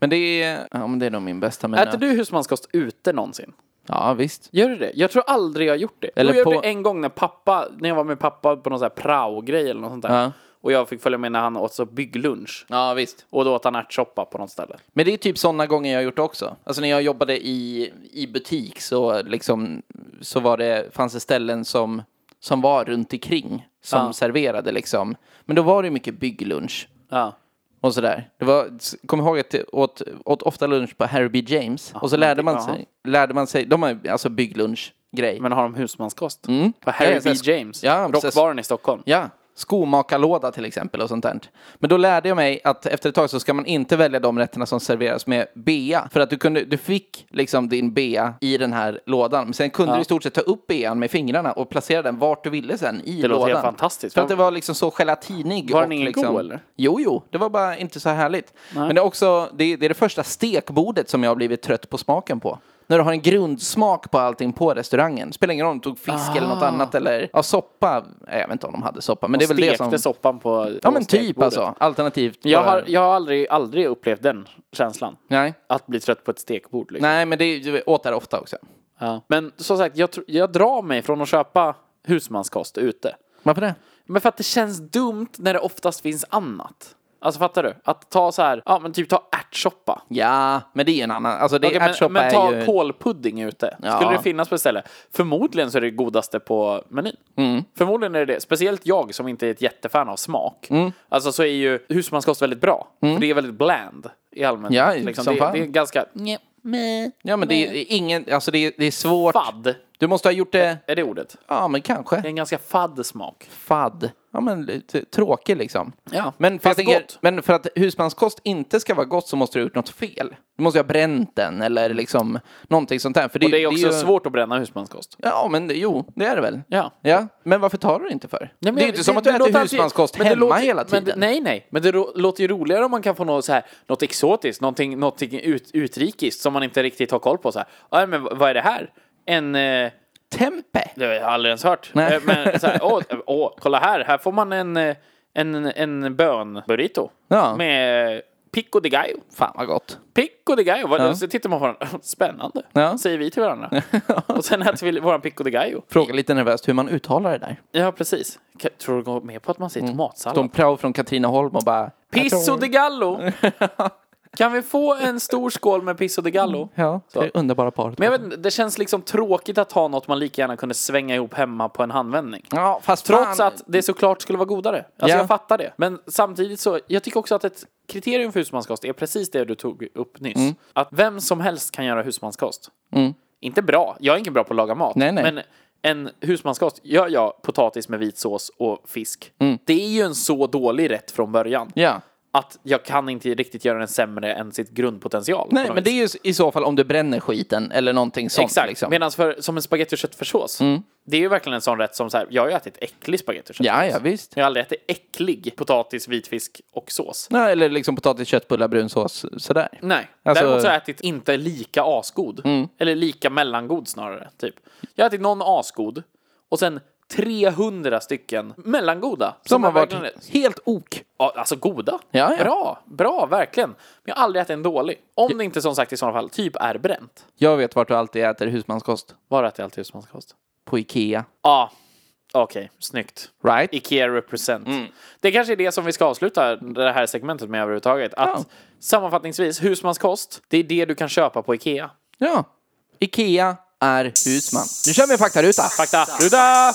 Speaker 2: Men det är, ja, men det är nog min bästa men
Speaker 1: Äter du husmanskost ute någonsin?
Speaker 2: Ja, visst.
Speaker 1: Gör du det? Jag tror aldrig jag har gjort det.
Speaker 2: Eller
Speaker 1: Eller jag
Speaker 2: på-
Speaker 1: gjorde det en gång när pappa, när jag var med pappa på någon sån här prao-grej eller något sånt där.
Speaker 2: Ja.
Speaker 1: Och jag fick följa med när han åt så bygglunch.
Speaker 2: Ja, visst.
Speaker 1: Och då åt han ärtsoppa på något ställe.
Speaker 2: Men det är typ sådana gånger jag har gjort också. Alltså när jag jobbade i, i butik så, liksom, så var det, fanns det ställen som, som var runt omkring som
Speaker 1: Ja.
Speaker 2: serverade liksom. Men då var det mycket bygglunch
Speaker 1: Ja.
Speaker 2: och sådär. Det var, s- kom ihåg att jag åt, åt ofta lunch på Harry B. James och så lärde man sig, lärde man sig, de har ju alltså bygglunch-grej.
Speaker 1: Men har de husmanskost? På Harry
Speaker 2: Mm. Ja,
Speaker 1: B.
Speaker 2: precis.
Speaker 1: James,
Speaker 2: Ja, precis.
Speaker 1: rockbaren i Stockholm.
Speaker 2: Ja, skomakarlåda till exempel och sånt där. Men då lärde jag mig att efter ett tag så ska man inte välja de rätterna som serveras med bea. För att du, kunde, du fick liksom din bea i den här lådan. Men sen kunde du i stort sett ta upp bean med fingrarna och placera den vart du ville sen i
Speaker 1: Det
Speaker 2: lådan.
Speaker 1: låter helt fantastiskt.
Speaker 2: För att det var liksom så gelatinig.
Speaker 1: Var
Speaker 2: och
Speaker 1: den ingen
Speaker 2: liksom...
Speaker 1: god, eller?
Speaker 2: Jo, jo, det var bara inte så härligt. Men det är också det, det är det första stekbordet som jag har blivit trött på smaken på. När du har en grundsmak på allting på restaurangen. Spelar ingen roll om du tog fisk eller
Speaker 1: Ah.
Speaker 2: något annat eller ja, soppa. Nej, Jag vet inte om de hade soppa, men det är väl det
Speaker 1: Stekte
Speaker 2: som...
Speaker 1: soppan på
Speaker 2: Ja
Speaker 1: på
Speaker 2: men typ
Speaker 1: stekbordet.
Speaker 2: alltså, alternativt.
Speaker 1: Jag
Speaker 2: bara-
Speaker 1: har, jag har aldrig, aldrig upplevt den känslan.
Speaker 2: Nej.
Speaker 1: Att bli trött på ett stekbord. Liksom.
Speaker 2: Nej, men det är- du åt där ofta också.
Speaker 1: Ja. Men som sagt, jag, tr- jag drar mig från att köpa husmanskost ute.
Speaker 2: Varför det?
Speaker 1: Men för att det känns dumt när det oftast finns annat. Alltså fattar du? Att ta så här, ja men typ ta ärtsoppa.
Speaker 2: Ja, men det är ju en annan. Alltså det
Speaker 1: Okej,
Speaker 2: är ärtsoppa
Speaker 1: men, men ta
Speaker 2: är ju...
Speaker 1: kålpudding ute.
Speaker 2: Ja.
Speaker 1: Skulle det finnas på ett ställe? Förmodligen så är det det godaste på menyn.
Speaker 2: Mm.
Speaker 1: Förmodligen är det det. Speciellt jag som inte är ett jättefan av smak.
Speaker 2: Mm.
Speaker 1: Alltså så är ju husmanskost väldigt bra. För det är väldigt bland i allmänhet. Liksom,
Speaker 2: Ja, som
Speaker 1: det,
Speaker 2: fan.
Speaker 1: det är ganska... Nje.
Speaker 2: Ja, men det är, ingen, alltså det är, det är svårt.
Speaker 1: Fadd,
Speaker 2: Du måste ha gjort det,
Speaker 1: är det ordet?
Speaker 2: ja men
Speaker 1: Det är
Speaker 2: kanske.
Speaker 1: en ganska fadd smak.
Speaker 2: Fadd. Ja, men lite tråkig liksom.
Speaker 1: Ja,
Speaker 2: Men för,
Speaker 1: fast
Speaker 2: jag tänker,
Speaker 1: gott.
Speaker 2: men för att husmanskost inte ska vara gott så måste du ha gjort något fel. Du måste ju ha bränt den eller liksom någonting sånt där. För det,
Speaker 1: Och det är också
Speaker 2: ju-
Speaker 1: svårt att bränna husmanskost.
Speaker 2: Ja, men det- jo, det är det väl.
Speaker 1: Ja.
Speaker 2: ja. Men varför tar du det inte för?
Speaker 1: Nej, men
Speaker 2: det är ju
Speaker 1: jag-
Speaker 2: inte som att du
Speaker 1: det låter
Speaker 2: äter
Speaker 1: alltid-
Speaker 2: husmanskost
Speaker 1: men det
Speaker 2: hemma
Speaker 1: låter-
Speaker 2: hela
Speaker 1: men
Speaker 2: tiden.
Speaker 1: det- nej, nej. Men det ro- låter ju roligare om man kan få något, så här, något exotiskt, någonting, någonting ut, utrikiskt som man inte riktigt har koll på. Så här. Ja, men v- vad är det här? En... Eh,
Speaker 2: Tempe!
Speaker 1: det har jag aldrig ens hört.
Speaker 2: Nej.
Speaker 1: Eh, Men så här, åh, åh, kolla här, här får man en, eh, en, en bönburrito.
Speaker 2: Ja.
Speaker 1: Med eh, pico de gallo.
Speaker 2: Fan vad gott.
Speaker 1: Pico de gallo, ja. så tittar man på den. Spännande,
Speaker 2: Ja.
Speaker 1: säger vi till varandra. Och sen äter vi våran pico de gallo.
Speaker 2: Fråga lite nervöst hur man uttalar det där.
Speaker 1: Ja, precis. Ka- Tror du går med på att man säger
Speaker 2: Mm.
Speaker 1: tomatsallad?
Speaker 2: De prao från Katrineholm och bara...
Speaker 1: Pisso de Gallo! Kan vi få en stor skål med Pisso de Gallo?
Speaker 2: Ja, det
Speaker 1: Så.
Speaker 2: är underbara paret.
Speaker 1: Men jag vet inte, det känns liksom tråkigt att ha något man lika gärna kunde svänga ihop hemma på en handvändning.
Speaker 2: ja, fast
Speaker 1: Trots
Speaker 2: fan,
Speaker 1: att det såklart skulle vara godare. Alltså
Speaker 2: Mm. Ja.
Speaker 1: jag fattar det. Men samtidigt så, jag tycker också att ett kriterium för husmanskost är precis det du tog upp nyss.
Speaker 2: Mm.
Speaker 1: Att vem som helst kan göra husmanskost. Inte bra, jag är inte bra på att laga mat.
Speaker 2: Nej, nej.
Speaker 1: Men en husmanskost, gör jag potatis med vit sås och fisk. Det är ju en så dålig rätt från början
Speaker 2: Mm. Ja.
Speaker 1: att jag kan inte riktigt göra den sämre än sitt grundpotential. på
Speaker 2: Nej,
Speaker 1: något
Speaker 2: men det
Speaker 1: vis.
Speaker 2: är ju s- i så fall om du bränner skiten eller någonting sånt.
Speaker 1: Exakt,
Speaker 2: Liksom. Mm.
Speaker 1: medan för, som en spagetti och köttfärssås. Det är ju verkligen en sån rätt som så här, jag har ju ätit äcklig spagetti och
Speaker 2: Ja,
Speaker 1: köttfärssås.
Speaker 2: ja, visst.
Speaker 1: Jag har aldrig ätit äcklig potatis, vitfisk och sås.
Speaker 2: Nej, eller liksom potatis, köttbullar, brunsås, sådär.
Speaker 1: Nej,
Speaker 2: Alltså- Mm.
Speaker 1: däremot så har jag ätit inte lika asgod. Eller lika mellangod snarare, typ. Jag har ätit någon asgod och sen 300 stycken mellangoda.
Speaker 2: Som har
Speaker 1: är verkligen-
Speaker 2: varit helt ok.
Speaker 1: Ja, alltså goda.
Speaker 2: Ja, ja.
Speaker 1: Bra, bra, verkligen. Men jag har aldrig ätit en dålig. Om det inte som sagt i sådana fall typ är bränt.
Speaker 2: Jag vet vart du alltid äter husmanskost.
Speaker 1: Var äter jag alltid husmanskost?
Speaker 2: På Ikea.
Speaker 1: Ja, ah, okej, snyggt.
Speaker 2: Right?
Speaker 1: Ikea represent. Det kanske är det som vi ska avsluta det här segmentet med överhuvudtaget. Att
Speaker 2: Ja.
Speaker 1: sammanfattningsvis, husmanskost, det är det du kan köpa på Ikea.
Speaker 2: Ja. Ikea är husman. Nu kör vi faktaruta.
Speaker 1: Fakta, ruta!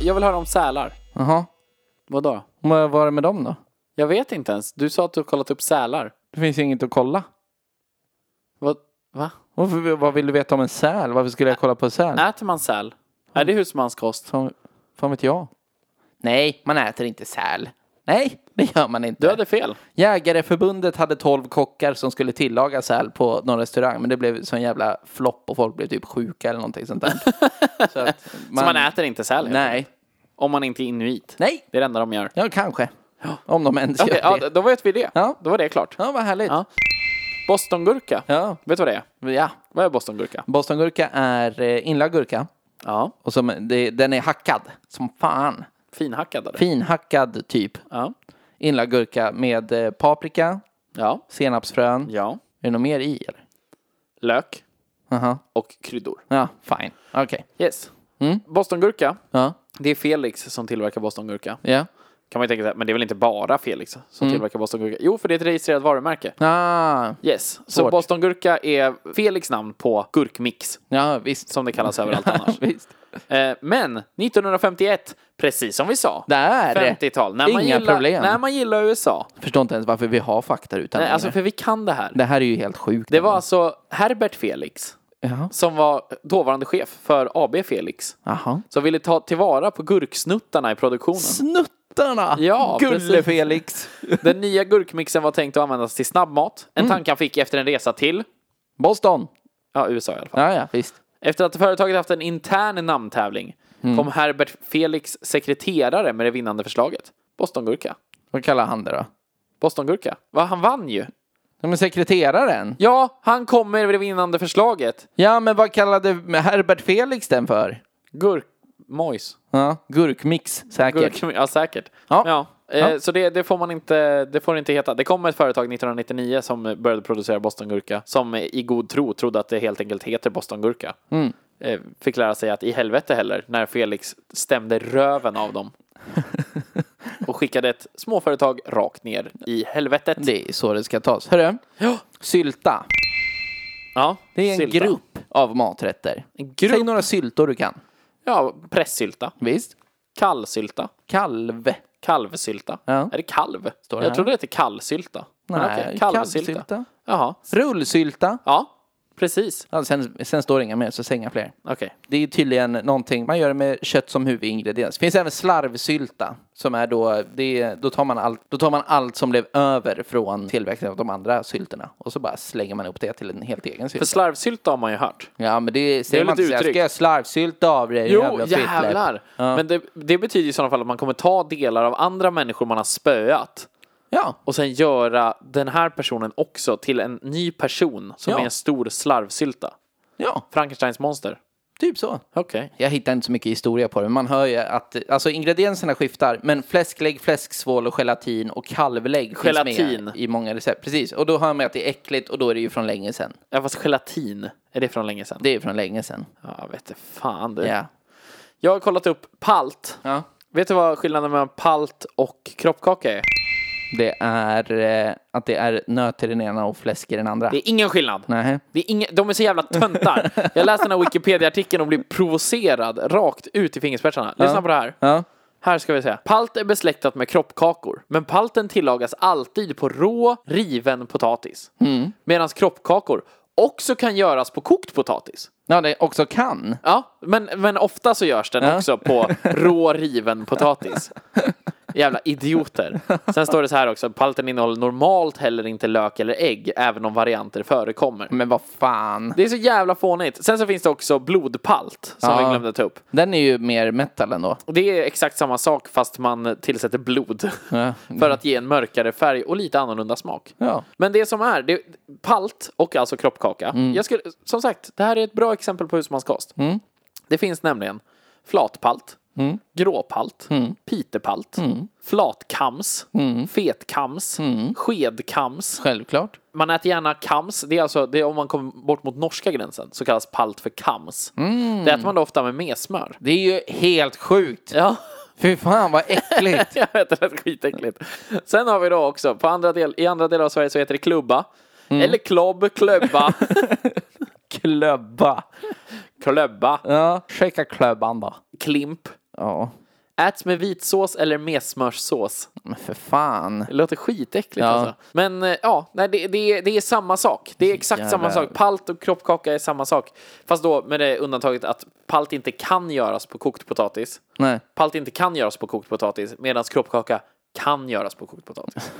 Speaker 1: Jag vill höra om sälar.
Speaker 2: Jaha.
Speaker 1: Vadå?
Speaker 2: Vad var det med dem då?
Speaker 1: Jag vet inte ens. Du sa att du har kollat upp sälar.
Speaker 2: Det finns ju inget att kolla.
Speaker 1: Vad? Va?
Speaker 2: Varför, vad vill du veta om en säl? Varför skulle jag kolla på en säl?
Speaker 1: Äter man säl? Är det husmanskost?
Speaker 2: Fan, fan vet jag? Nej, man äter inte säl. Nej, det gör man inte.
Speaker 1: Du hade fel.
Speaker 2: Jägareförbundet hade 12 kockar som skulle tillaga säl på någon restaurang, men det blev sån jävla flopp och folk blev typ sjuka eller någonting sånt där. Så, att man,
Speaker 1: Så man äter inte säl? helt enkelt.
Speaker 2: Nej.
Speaker 1: Om man inte är inuit.
Speaker 2: Nej,
Speaker 1: Det är det enda de gör.
Speaker 2: ja kanske. Om de ens
Speaker 1: Okej,
Speaker 2: gör
Speaker 1: ja,
Speaker 2: det.
Speaker 1: då vet vi det.
Speaker 2: Ja.
Speaker 1: Då var det klart.
Speaker 2: Ja, vad härligt.
Speaker 1: Ja. Bostongurka.
Speaker 2: Ja.
Speaker 1: Vet du vad det är?
Speaker 2: ja.
Speaker 1: Vad är bostongurka?
Speaker 2: Bostongurka är eh, inlagd gurka.
Speaker 1: Ja.
Speaker 2: Och som, det, den är hackad som fan.
Speaker 1: Finhackad eller?
Speaker 2: Finhackad typ.
Speaker 1: Ja.
Speaker 2: Inlagd gurka med eh, paprika,
Speaker 1: Ja.
Speaker 2: senapsfrön.
Speaker 1: Ja.
Speaker 2: Är det något mer i eller?
Speaker 1: Lök.
Speaker 2: Aha.
Speaker 1: Och kryddor.
Speaker 2: Ja, fine. Okej.
Speaker 1: Yes. Bostongurka.
Speaker 2: Ja.
Speaker 1: Det är Felix som tillverkar bostongurka.
Speaker 2: Ja.
Speaker 1: Kan man ju tänka sig, men det är väl inte bara Felix
Speaker 2: Mm.
Speaker 1: som tillverkar bostongurka? Jo, för det är ett registrerat varumärke.
Speaker 2: Ah,
Speaker 1: Yes. Så
Speaker 2: Svårt.
Speaker 1: bostongurka är Felix namn på gurkmix,
Speaker 2: ja, visst.
Speaker 1: som det kallas överallt annars.
Speaker 2: visst.
Speaker 1: Eh, Men 1951, precis som vi sa.
Speaker 2: Där!
Speaker 1: 50-tal. När man
Speaker 2: Inga
Speaker 1: gillar,
Speaker 2: problem.
Speaker 1: När man gillar USA.
Speaker 2: Förstår inte ens varför vi har fakta utan
Speaker 1: Nej,
Speaker 2: längre.
Speaker 1: alltså för vi kan det här.
Speaker 2: Det här är ju helt sjukt.
Speaker 1: Det var alltså Herbert Felix
Speaker 2: Jaha.
Speaker 1: som var dåvarande chef för AB Felix.
Speaker 2: Jaha.
Speaker 1: Som ville ta tillvara på gurksnuttarna i produktionen.
Speaker 2: Snuttarna!
Speaker 1: Ja, precis.
Speaker 2: Gulle-Felix!
Speaker 1: Den nya gurkmixen var tänkt att användas till snabbmat. En
Speaker 2: Mm.
Speaker 1: tanke han fick efter en resa till
Speaker 2: Boston!
Speaker 1: ja, USA i alla fall.
Speaker 2: Ja, ja, visst.
Speaker 1: Efter att företaget haft en intern namntävling
Speaker 2: Mm.
Speaker 1: kom Herbert Felix sekreterare med det vinnande förslaget. Bostongurka.
Speaker 2: Vad kallar han det då?
Speaker 1: Bostongurka. Va, han vann ju.
Speaker 2: Ja, men sekreteraren?
Speaker 1: Ja, han kommer med det vinnande förslaget.
Speaker 2: Ja, men vad kallade Herbert Felix den för?
Speaker 1: Gurkmojs.
Speaker 2: Ja, gurkmix säkert.
Speaker 1: Gurk, ja, säkert.
Speaker 2: Ja.
Speaker 1: Eh,
Speaker 2: Ja.
Speaker 1: Så det, det får man inte, det får det inte heta. Det kom ett företag 1999 som började producera bostongurka som i god tro trodde att det helt enkelt heter bostongurka.
Speaker 2: Mm.
Speaker 1: Eh, Fick lära sig att i helvete heller när Felix stämde röven av dem. och skickade ett småföretag rakt ner i helvetet.
Speaker 2: Det är så det ska tas. Hörru,
Speaker 1: Ja.
Speaker 2: sylta.
Speaker 1: Ja,
Speaker 2: Det är en
Speaker 1: sylta.
Speaker 2: grupp av maträtter.
Speaker 1: grupp.
Speaker 2: Säg några syltor du kan.
Speaker 1: Ja, pressylta.
Speaker 2: Visst?
Speaker 1: Kallsylta.
Speaker 2: Kalv.
Speaker 1: Kalvsylta.
Speaker 2: Ja.
Speaker 1: Är det kalv?
Speaker 2: Står det
Speaker 1: jag
Speaker 2: här?
Speaker 1: trodde det hette kallsylta. Men okej, kalvsylta.
Speaker 2: kalvsylta.
Speaker 1: Jaha.
Speaker 2: Rullsylta.
Speaker 1: Ja, precis.
Speaker 2: Ja, sen, sen står det inga mer, så säg inga fler.
Speaker 1: Okej.
Speaker 2: Det är tydligen någonting, man gör det med kött som huvudingrediens. Det finns även slarvsylta, som är då, det, är- då, tar man allt, då tar man allt som blev över från tillväxten av de andra sylterna. Och så bara slänger man upp det till en helt egen
Speaker 1: För
Speaker 2: sylta.
Speaker 1: slarvsylta har man ju hört.
Speaker 2: Ja, men det säger man
Speaker 1: lite
Speaker 2: inte så här,
Speaker 1: uttryck.
Speaker 2: ska jag slarvsylta av dig?
Speaker 1: Jo,
Speaker 2: jävla fittläpp?"
Speaker 1: jävlar.
Speaker 2: Ja.
Speaker 1: Men det, det betyder i sådana fall att man kommer ta delar av andra människor man har spöat
Speaker 2: ja,
Speaker 1: och sen göra den här personen också till en ny person som
Speaker 2: Ja.
Speaker 1: är en stor slarvsylta.
Speaker 2: ja,
Speaker 1: Frankensteins monster.
Speaker 2: typ så.
Speaker 1: Okej.
Speaker 2: Jag hittar inte så mycket historia på det, men man hör ju att alltså, ingredienserna skiftar. Men fläsklägg, fläsksvål och gelatin och kalvlägg finns
Speaker 1: Gelatin.
Speaker 2: med i många recept. Precis, och då hör man att det är äckligt och då är det ju från länge sedan.
Speaker 1: Ja, fast gelatin. Är det från länge sedan?
Speaker 2: Det är ju från länge sedan.
Speaker 1: Ja, vet du, fan du.
Speaker 2: Ja.
Speaker 1: Jag har kollat upp palt.
Speaker 2: ja.
Speaker 1: Vet du vad skillnaden mellan palt och kroppkaka är?
Speaker 2: Det är eh, att det är nöt i den ena och fläsk i den andra.
Speaker 1: Det är ingen skillnad.
Speaker 2: Nej.
Speaker 1: Det är inga, de är så jävla töntar. Jag läste den här Wikipedia-artikeln och blev provocerad rakt ut i fingerspetsarna. Lyssna på det här.
Speaker 2: Ja.
Speaker 1: Här ska vi se. Palt är besläktat med kroppkakor, men palten tillagas alltid på rå, riven potatis. Mm. Medan kroppkakor också kan göras på kokt potatis.
Speaker 2: ja, det också kan.
Speaker 1: Ja, men, men ofta så görs den också på rå riven potatis. Jävla idioter. Sen står det så här också, palten innehåller normalt heller inte lök eller ägg, även om varianter förekommer.
Speaker 2: Men vad fan.
Speaker 1: Det är så jävla fånigt. Sen så finns det också blodpalt, som
Speaker 2: Ja.
Speaker 1: vi glömde ta upp.
Speaker 2: Den är ju mer metal ändå.
Speaker 1: Och Det är exakt samma sak fast man tillsätter blod. För att ge en mörkare färg och lite annorlunda smak.
Speaker 2: Ja.
Speaker 1: Men det som är, det, palt och alltså kroppkaka.
Speaker 2: Mm.
Speaker 1: Jag skulle, som sagt, det här är ett bra exempel på husmanskost. Det finns nämligen flatpalt,
Speaker 2: Mm.
Speaker 1: gråpalt, pitepalt, flatkams,
Speaker 2: Mm.
Speaker 1: fetkams, skedkams.
Speaker 2: Självklart.
Speaker 1: Man äter gärna kams, det är alltså det är om man kommer bort mot norska gränsen så kallas palt för kams.
Speaker 2: Mm.
Speaker 1: Det äter man då ofta med messmör.
Speaker 2: Det är ju helt sjukt.
Speaker 1: Ja.
Speaker 2: Fy fan vad äckligt.
Speaker 1: Jag vet, det lät skitäckligt. Sen har vi då också, på andra del, i andra delar av Sverige så heter det klubba.
Speaker 2: Mm.
Speaker 1: Eller klobb, klubba,
Speaker 2: Klubba.
Speaker 1: klubba,
Speaker 2: Ja, shaka klubban då.
Speaker 1: klimp.
Speaker 2: Ja,
Speaker 1: Äts med vitsås eller messmörssås.
Speaker 2: men för fan.
Speaker 1: Det låter skitäckligt
Speaker 2: Ja.
Speaker 1: alltså. Men eh, ja, nej, det, det, är- det är samma sak. Det är exakt samma
Speaker 2: Jävlar.
Speaker 1: sak. Palt och kroppkaka är samma sak. Fast då med det undantaget att palt inte kan göras på kokt potatis.
Speaker 2: Nej,
Speaker 1: Palt inte kan göras på kokt potatis medan kroppkaka kan göras på kokt potatis.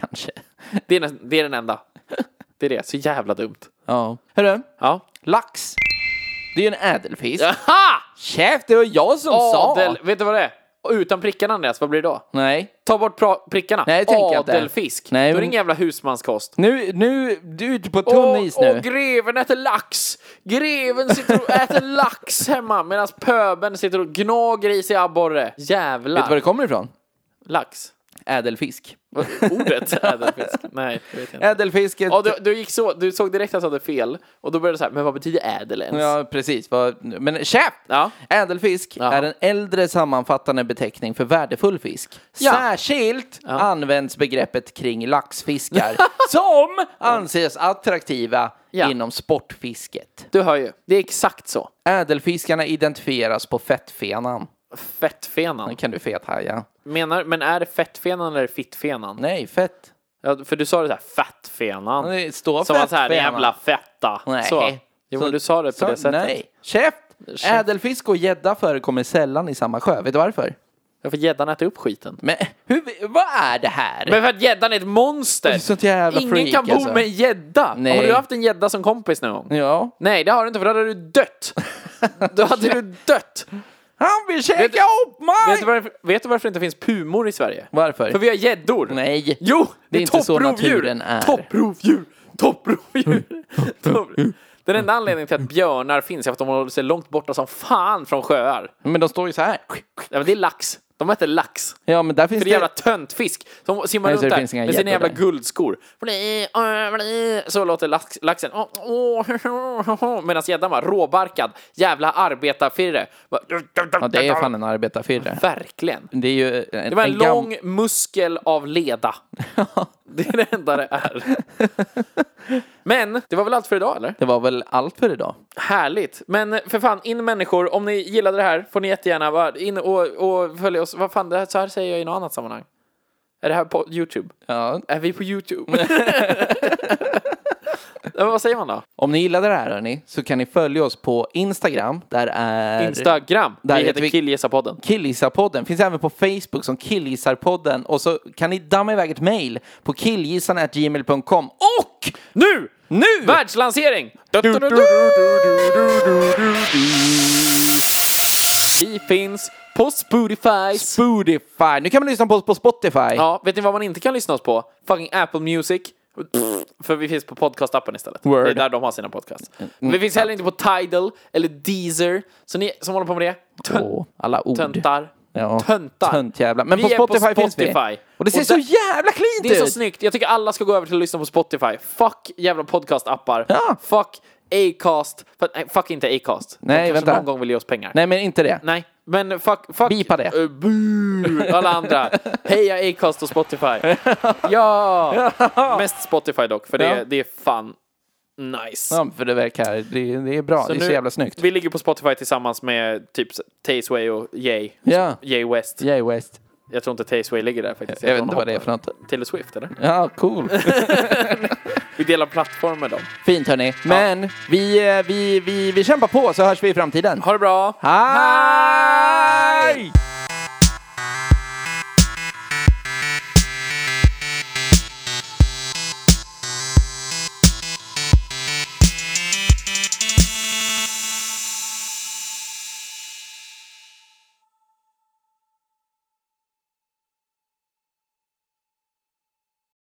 Speaker 2: kanske.
Speaker 1: Det är, nä- det är den enda. Det är det. Så jävla dumt.
Speaker 2: Ja. Hörru,
Speaker 1: Ja.
Speaker 2: lax. Det är ju en ädelfisk.
Speaker 1: Aha!
Speaker 2: Chef, det var jag som
Speaker 1: Adel,
Speaker 2: sa.
Speaker 1: vet du vad det är? Och Utan prickarna Andreas, vad blir det då?
Speaker 2: Nej.
Speaker 1: Ta bort pra- prickarna.
Speaker 2: Nej, det tänker jag inte.
Speaker 1: Adelfisk.
Speaker 2: Nej,
Speaker 1: då är det
Speaker 2: men-
Speaker 1: ingen jävla husmanskost.
Speaker 2: Nu, nu, du är ute på tunn is
Speaker 1: Åh,
Speaker 2: nu.
Speaker 1: åh, greven äter lax! Greven sitter och äter lax hemma medan pöben sitter och gnager i sig abborre. Jävlar.
Speaker 2: Vet du var det kommer ifrån?
Speaker 1: Lax.
Speaker 2: Ädelfisk.
Speaker 1: Ordet ädelfisk. Nej, det vet jag inte.
Speaker 2: Ädelfisk är...
Speaker 1: Ja, du, du, gick så, du såg direkt att jag hade fel och då började du så här, men vad betyder ädel ens?
Speaker 2: Ja, precis. Vad- Men chef!
Speaker 1: Ja.
Speaker 2: Ädelfisk
Speaker 1: Jaha.
Speaker 2: är en äldre sammanfattande beteckning för värdefull fisk.
Speaker 1: Ja.
Speaker 2: Särskilt används begreppet kring laxfiskar som anses attraktiva
Speaker 1: Ja.
Speaker 2: inom sportfisket.
Speaker 1: Du hör ju, det är exakt så.
Speaker 2: Ädelfiskarna identifieras på fettfenan.
Speaker 1: Fettfenan.
Speaker 2: Den kan du fethaja.
Speaker 1: Menar, men är det fettfenan eller fittfenan?
Speaker 2: Nej, fett.
Speaker 1: Ja, för du sa det så här, fettfenan.
Speaker 2: Det står
Speaker 1: Som att så här,
Speaker 2: fettfenan.
Speaker 1: jävla fetta.
Speaker 2: Nej.
Speaker 1: Så. Jo, men du sa det på
Speaker 2: Så-
Speaker 1: det sättet.
Speaker 2: Nej. Chef! Ädelfisk och gädda förekommer sällan i samma sjö. Vet du varför?
Speaker 1: Ja, för gäddan äter upp skiten.
Speaker 2: Men hur, vad är det här?
Speaker 1: Men för att gäddan är ett monster!
Speaker 2: är sånt jävla
Speaker 1: Ingen
Speaker 2: freak,
Speaker 1: kan bo
Speaker 2: alltså.
Speaker 1: med en gädda!
Speaker 2: Nej.
Speaker 1: Har du haft en gädda som kompis någon gång?
Speaker 2: Ja.
Speaker 1: Nej, det har du inte, för då hade du dött! då hade du dött!
Speaker 2: Han vill käka
Speaker 1: Vet du-
Speaker 2: upp mig!
Speaker 1: Vet du, varför, vet du varför det inte finns pumor i Sverige?
Speaker 2: Varför?
Speaker 1: För vi har gäddor!
Speaker 2: Nej.
Speaker 1: Jo!
Speaker 2: Det är inte så
Speaker 1: topprovdjur.
Speaker 2: naturen är.
Speaker 1: Topprovdjur! Topprovdjur! Topprovdjur. Den enda anledningen till att björnar finns är för att de håller sig långt borta som fan från sjöar.
Speaker 2: Men de står ju så här.
Speaker 1: Ja, men det är lax. De äter lax.
Speaker 2: Ja, men där finns
Speaker 1: Det är jävla töntfisk som simmar
Speaker 2: Nej, så
Speaker 1: runt
Speaker 2: det
Speaker 1: där med
Speaker 2: finns inga
Speaker 1: sina
Speaker 2: gäddor
Speaker 1: jävla
Speaker 2: där.
Speaker 1: guldskor. Bli, äh, bli. Så låter lax, laxen. Åh, åh, Medan gäddan var råbarkad. Jävla arbetarfirre. Bara-
Speaker 2: Ja, det är fan en arbetarfirre.
Speaker 1: Verkligen.
Speaker 2: Det är ju en,
Speaker 1: Det var en,
Speaker 2: gam-
Speaker 1: lång muskel av leda. Det är det enda det är. Men det var väl allt för idag eller?
Speaker 2: Det var väl allt för idag.
Speaker 1: Härligt! Men eh, för fan, in människor. Om ni gillade det här får ni jättegärna vara in och, och följa oss. Vad fan, det här, så här säger jag i något annat sammanhang. Är det här på YouTube?
Speaker 2: Ja.
Speaker 1: Är vi på YouTube? Men vad säger man då?
Speaker 2: Om ni gillade det här hörni, så kan ni följa oss på Instagram. Där är
Speaker 1: Instagram.
Speaker 2: Där
Speaker 1: vi
Speaker 2: heter
Speaker 1: heter
Speaker 2: vi-
Speaker 1: Killgissarpodden.
Speaker 2: Killgissarpodden. Finns även på Facebook som Killgissarpodden. Och så kan ni damma iväg ett mejl på killgissarna.gmail.com. Och
Speaker 1: Nu!
Speaker 2: nu!
Speaker 1: Världslansering! Vi finns på Spotify.
Speaker 2: Spotify. Nu kan man lyssna på oss på Spotify.
Speaker 1: Ja, vet ni vad man inte kan lyssna oss på? Fucking Apple Music. Pff, För vi finns på podcastappen istället.
Speaker 2: Word.
Speaker 1: Det är där de har sina podcasts. Men vi finns heller inte på Tidal eller Deezer. Så ni som håller på med det, tön-
Speaker 2: Åh, alla ord.
Speaker 1: töntar.
Speaker 2: Ja.
Speaker 1: Töntar.
Speaker 2: Töntjävlar. Men
Speaker 1: Vi
Speaker 2: på
Speaker 1: är på
Speaker 2: Spotify, finns vi.
Speaker 1: Spotify.
Speaker 2: Och det ser
Speaker 1: Och
Speaker 2: så
Speaker 1: där-
Speaker 2: jävla cleant
Speaker 1: Det är så
Speaker 2: ut!
Speaker 1: snyggt. Jag tycker alla ska gå över till att lyssna på Spotify. Fuck jävla podcastappar.
Speaker 2: Ja.
Speaker 1: Fuck Acast. Fuck- nej, Fuck inte Acast.
Speaker 2: Nej,
Speaker 1: de kanske
Speaker 2: vänta.
Speaker 1: någon gång vill ge oss pengar.
Speaker 2: Nej, men inte det.
Speaker 1: Nej, men fuck... fuck
Speaker 2: Bipa det.
Speaker 1: Eh, bu, alla andra. Heja Acast och Spotify. ja! Mest Spotify dock, för
Speaker 2: Ja.
Speaker 1: det, det är fan nice.
Speaker 2: Ja, för det verkar... Det, det är bra. det är så
Speaker 1: nu-
Speaker 2: jävla snyggt.
Speaker 1: Vi ligger på Spotify tillsammans med typ Tasteway och Jay.
Speaker 2: Ja.
Speaker 1: Jay West.
Speaker 2: Jay West.
Speaker 1: Jag tror inte Tasteway ligger där faktiskt.
Speaker 2: Jag vet
Speaker 1: tror
Speaker 2: inte
Speaker 1: hon
Speaker 2: vad det är
Speaker 1: hoppar.
Speaker 2: för något.
Speaker 1: Taylor Swift, eller?
Speaker 2: Ja, cool.
Speaker 1: Vi delar plattform med dem.
Speaker 2: Fint hörni. Men vi, eh, vi, vi, vi kämpar på så hörs vi i framtiden.
Speaker 1: Ha det bra!
Speaker 2: Hej!